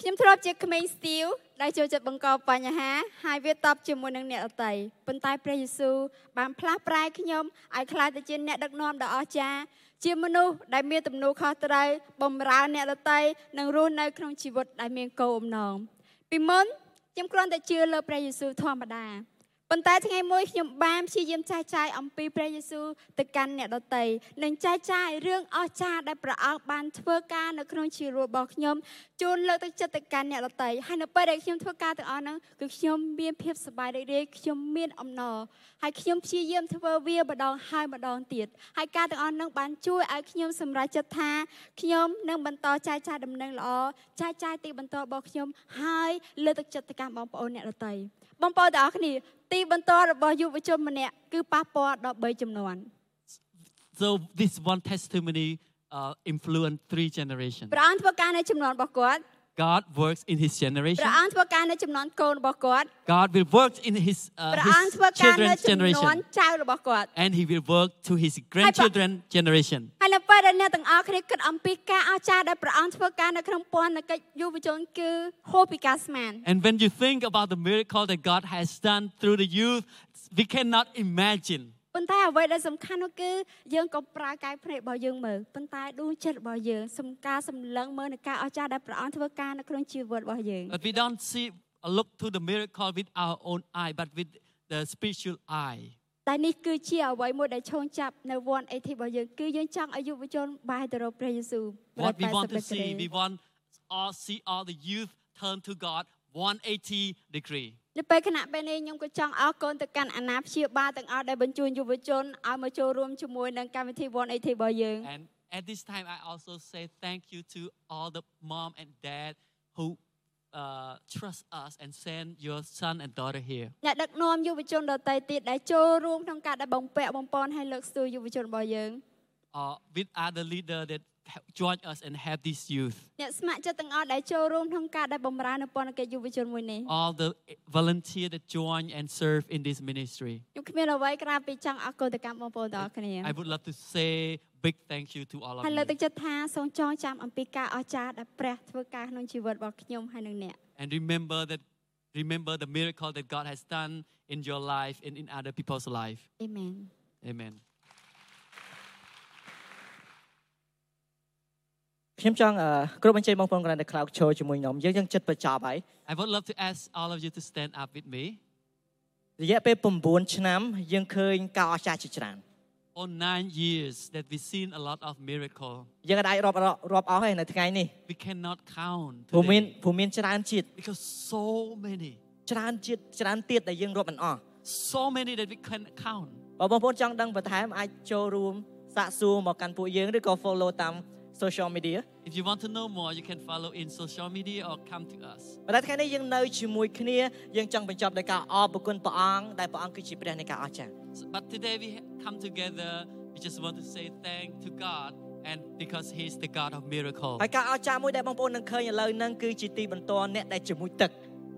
[SPEAKER 8] ខ្ញុំធ្លាប់ជាក្មេងស្ទាវដែលចូលចិត្តបង្កបញ្ហាហើយវាតបជាមួយនឹងអ្នកដទៃប៉ុន្តែព្រះយេស៊ូវបានផ្លាស់ប្រែខ្ញុំឲ្យក្លាយទៅជាអ្នកដឹកនាំដ៏អស្ចារ្យជាមនុស្សដែលមានទំនួលខុសត្រូវបម្រើអ្នកដទៃនិងរស់នៅក្នុងជីវិតដែលមានគោលបំណងពីមុនខ្ញុំគ្រាន់តែជឿលើព្រះយេស៊ូវធម្មតា ប៉ុន្តែថ្ងៃមួយខ្ញុំបានព្យាយាមចែកចាយអំពីព្រះយេស៊ូវទៅកាន់អ្នកដទៃនិងចែកចាយរឿងអស្ចារ្យដែលព្រះអង្គបានធ្វើការនៅក្នុងជីវិតរបស់ខ្ញុំជូនលើកទឹកចិត្តទៅកាន់អ្នកដទៃហើយនៅពេលដែលខ្ញុំធ្វើការទាំងអស់ហ្នឹងគឺខ្ញុំមានភាពសប្បាយរីករាយខ្ញុំមានអំណរហើយខ្ញុំព្យាយាមធ្វើវាម្ដងហើយម្ដងទៀតហើយការទាំងអស់ហ្នឹងបានជួយឲ្យខ្ញុំសម្រេចចិត្តថាខ្ញុំនឹងបន្តចែកចាយដំណឹងល្អចែកចាយទីបន្តរបស់ខ្ញុំហើយលើកទឹកចិត្តទៅកាន់បងប្អូនអ្នកដទៃបងប្អូនទាំងអស់គ្នា ទីបន្ទាល់របស់យុវជនម្នាក់គឺប៉ះពាល់ដល់3ចំនួន
[SPEAKER 6] So this one testimony uh, influenced three generations.
[SPEAKER 8] ព្រះអង្គធ្វើការនៅចំនួនរបស់គាត់
[SPEAKER 6] God works in His
[SPEAKER 8] ព្
[SPEAKER 6] generation.
[SPEAKER 8] រះអង្គធ្វើការនៅចំនួនកូនរបស់គាត់
[SPEAKER 6] God will work in His,
[SPEAKER 8] ព្រះ
[SPEAKER 6] uh,
[SPEAKER 8] អង្គ
[SPEAKER 6] his
[SPEAKER 8] ធ្វើការនៅ
[SPEAKER 6] children's
[SPEAKER 8] ចំនួន
[SPEAKER 6] generation,
[SPEAKER 8] ចៅរបស់គាត់
[SPEAKER 6] and He will work to His grandchildren generation.
[SPEAKER 8] ហើយនៅពេលដែលអ្នកទាំងអស់គ្នាគិតអំពីការអស្ចារ្យដែលព្រះអង្គធ្វើការនៅក្នុងពន្ធកិច្ចយុវជនគឺហួសពីការស្មាន
[SPEAKER 6] And when you think about the miracle that God has done through the youth, we cannot imagine.
[SPEAKER 8] ប៉ុន្តែអ្វីដែលសំខាន់នោះគឺយើងក៏ប្រើកាយភ្នែករបស់យើងមើលប៉ុន្តែដួងចិត្តរបស់យើងសំការសម្លឹងមើលនឹងការអស្ចារ្យដែលព្រះអង្គធ្វើការនៅក្នុងជីវិតរបស់យើង
[SPEAKER 6] But we don't see uh, look to the miracle with our own eye, but with the spiritual eye.
[SPEAKER 8] តែនេះគឺជាអ្វីមួយដែលឆ្លងចាប់នៅវ័នអេធីរបស់យើងគឺយើងចង់ឲ្យយុវជនបាយទៅរកព្រះយេស៊ូវ
[SPEAKER 6] What we
[SPEAKER 8] 80
[SPEAKER 6] want to
[SPEAKER 8] ដឺក្រេ
[SPEAKER 6] see, we want all see all the youth turn to God 180 degree.
[SPEAKER 8] នៅពេលគណៈពេលនេះខ្ញុំក៏ចង់អរគុណទៅកាន់អាណាព្យាបាលទាំងអស់ដែលបញ្ជូនយុវជនឲ្យមកចូលរួមជាមួយនឹងកម្មវិធី180របស់យើង
[SPEAKER 6] And at this time, I also say thank you to all the mom and dad who uh, trust us and send your son and daughter here.
[SPEAKER 8] អ្នកដឹកនាំយុវជនដទៃទៀតដែលចូលរួមក្នុងការដែលបំពាក់បំពន់ឲ្យលើកស្ទួយយុវជនរបស់យើង
[SPEAKER 6] Uh, with other leader that help- join us and help these youth.
[SPEAKER 8] អ្នកស្ម័គ្រចិត្តទាំងអស់ដែលចូលរួមក្នុងការដែលបំរើនៅពន្ធកិច្ចយុវជនមួយនេះ
[SPEAKER 6] All the volunteer that join and serve in this ministry.
[SPEAKER 8] ខ្ញុំគ្មានអ្វីក្រៅពីចង់អរគុណទៅកាន់បងប្អូនទាំងអស់គ្នា
[SPEAKER 6] I would love to say big thank you to all of
[SPEAKER 8] ហើយលើកទឹក
[SPEAKER 6] you.
[SPEAKER 8] ចិត្តថាសូមចងចាំអំពីការអស្ចារ្យដែលព្រះធ្វើការក្នុងជីវិតរបស់ខ្ញុំហើយនឹងអ្នក
[SPEAKER 6] And remember that remember the miracle that God has done in your life and in other people's life.
[SPEAKER 8] អេមែន
[SPEAKER 6] Amen.
[SPEAKER 5] ខ្ញុំចង់អឺគ្រប់អញ្ជើញបងប្អូនគណៈដែល Cloud Show ជាមួយខ្ញុំយើងយើងចិត្តបញ្ចប់ហើយ
[SPEAKER 6] I would love to ask all of you to stand up with me.
[SPEAKER 5] រយៈពេល9ឆ្នាំយើងឃើញការអស្ចារ្យជាច្រើន
[SPEAKER 6] For nine years that we've seen a lot of miracle.
[SPEAKER 5] យើងអាចរាប់រាប់រាប់អស់ហើយនៅថ្ងៃនេះ
[SPEAKER 6] We cannot count
[SPEAKER 5] ព្រោះមាន
[SPEAKER 6] today
[SPEAKER 5] ព្រោះមានច្រើនជាតិ
[SPEAKER 6] because so many,
[SPEAKER 5] ច្រើនជាតិច្រើនទៀតដែលយើងរាប់មិនអស់
[SPEAKER 6] so many that we can count.
[SPEAKER 5] បើបងប្អូនចង់ដឹងបន្ថែមអាចចូលរួមសាកសួរមកកាន់ពួកយើងឬក៏ follow តាម social media
[SPEAKER 6] If you want to know more, you can follow in social media or come to us.
[SPEAKER 5] ប៉ុន្តែថ្ងៃនេះយើងនៅជាមួយគ្នាយើងចង់បញ្ចប់ដោយការអរគុណព្រះអង្គដែលព្រះអង្គគឺជាព្រះនៃការអស្ចារ្យ
[SPEAKER 6] So- But today we ha- come together. We just want to say thank to God, and because He's the God of miracle.
[SPEAKER 5] ហើយការអស្ចារ្យមួយដែលបងប្អូននឹងឃើញឥឡូវហ្នឹងគឺជាទីបន្ទាល់អ្នកដែលជាមួយទឹក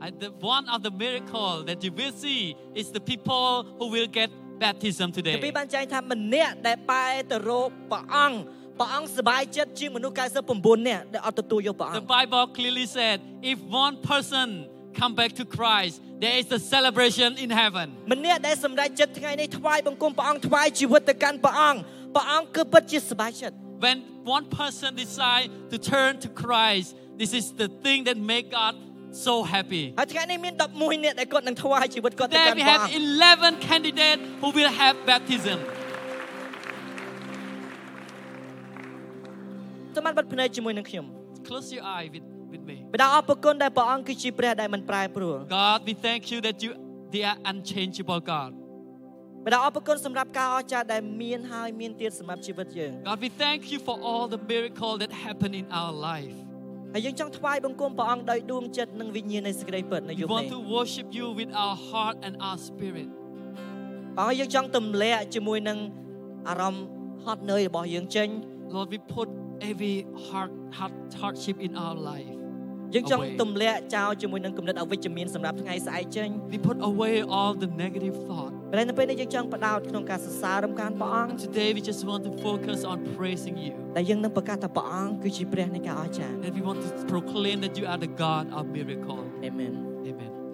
[SPEAKER 6] And the, one of the miracle that you will see is the people who will get baptism
[SPEAKER 5] គម្ពី
[SPEAKER 6] today.
[SPEAKER 5] របានចែងថាម្នាក់ដែលបែរទៅរកព្រះអង្គព្រះអង្គសប្បាយចិត្តជាងមនុស្ស99នាក់ដែលអត់ទទួលយកព្រះអ
[SPEAKER 6] The
[SPEAKER 5] ង្គ
[SPEAKER 6] Bible clearly said, if one person come back to Christ, there is a celebration in heaven.
[SPEAKER 5] ម្នាក់ដែលសម្រេចចិត្តថ្ងៃនេះថ្វាយបង្គំព្រះអង្គថ្វាយជីវិតទៅកាន់ព្រះអង្គព្រះអង្គគឺពិតជាសប្បាយចិត្ត
[SPEAKER 6] When one person decide to turn to Christ, this is the thing that make God so happy.
[SPEAKER 5] ហើយថ្ងៃនេះមាន11នាក់ដែលគាត់នឹងថ្វាយជីវិតគាត់ទៅ
[SPEAKER 6] There
[SPEAKER 5] កាន់
[SPEAKER 6] we
[SPEAKER 5] ព្រះអង
[SPEAKER 6] have
[SPEAKER 5] ្គ
[SPEAKER 6] 11 candidates who will have baptism.
[SPEAKER 5] សូមបានបិទភ្នែកជាមួយនឹងខ្ញុំ
[SPEAKER 6] Close your eye with, with me.
[SPEAKER 5] បិតាអរព្រគុណដែលព្រះអង្គគឺជាព្រះដែលមិនប្រែប្រួល
[SPEAKER 6] God, we thank you that you they are unchangeable God.
[SPEAKER 5] បិតាអរព្រគុណសម្រាប់ការអស្ចារ្យដែលមានហើយមានទៀតសម្រាប់ជីវិតយើង
[SPEAKER 6] God, we thank you for all the miracle that happened in our life.
[SPEAKER 5] ហើយយើងចង់ថ្វាយបង្គំព្រះអង្គដោយដួងចិត្តនិងវិញ្ញាណនៃសេចក្តីពិតនៅ
[SPEAKER 6] We
[SPEAKER 5] យប់
[SPEAKER 6] want
[SPEAKER 5] នេះ
[SPEAKER 6] to worship you with our heart and our spirit.
[SPEAKER 5] បងយើងចង់ទម្លាក់ជាមួយនឹងអារម្មណ៍ហត់នឿយរបស់យើងចេញ
[SPEAKER 6] Lord, we put every heart, heart hardship in our life.
[SPEAKER 5] យើងចង់
[SPEAKER 6] Away.
[SPEAKER 5] ទម្លាក់ចោលជាមួយនឹងគំនិតអវិជ្ជមានសម្រាប់ថ្ងៃស្អែកចេញ
[SPEAKER 6] We put away all the negative thought.
[SPEAKER 5] ប៉ុន្តែនៅពេលនេះយើងចង់បដោតក្នុងការសរសើររំខានព្រះអង្គ
[SPEAKER 6] And today we just want to focus on praising you.
[SPEAKER 5] ដែលយើងនឹងប្រកាសថាព្រះអង្គគឺជាព្រះនៃការអស្ចារ្យ
[SPEAKER 6] And we want to proclaim that you are the God of miracle.
[SPEAKER 5] អាមែន
[SPEAKER 6] Amen.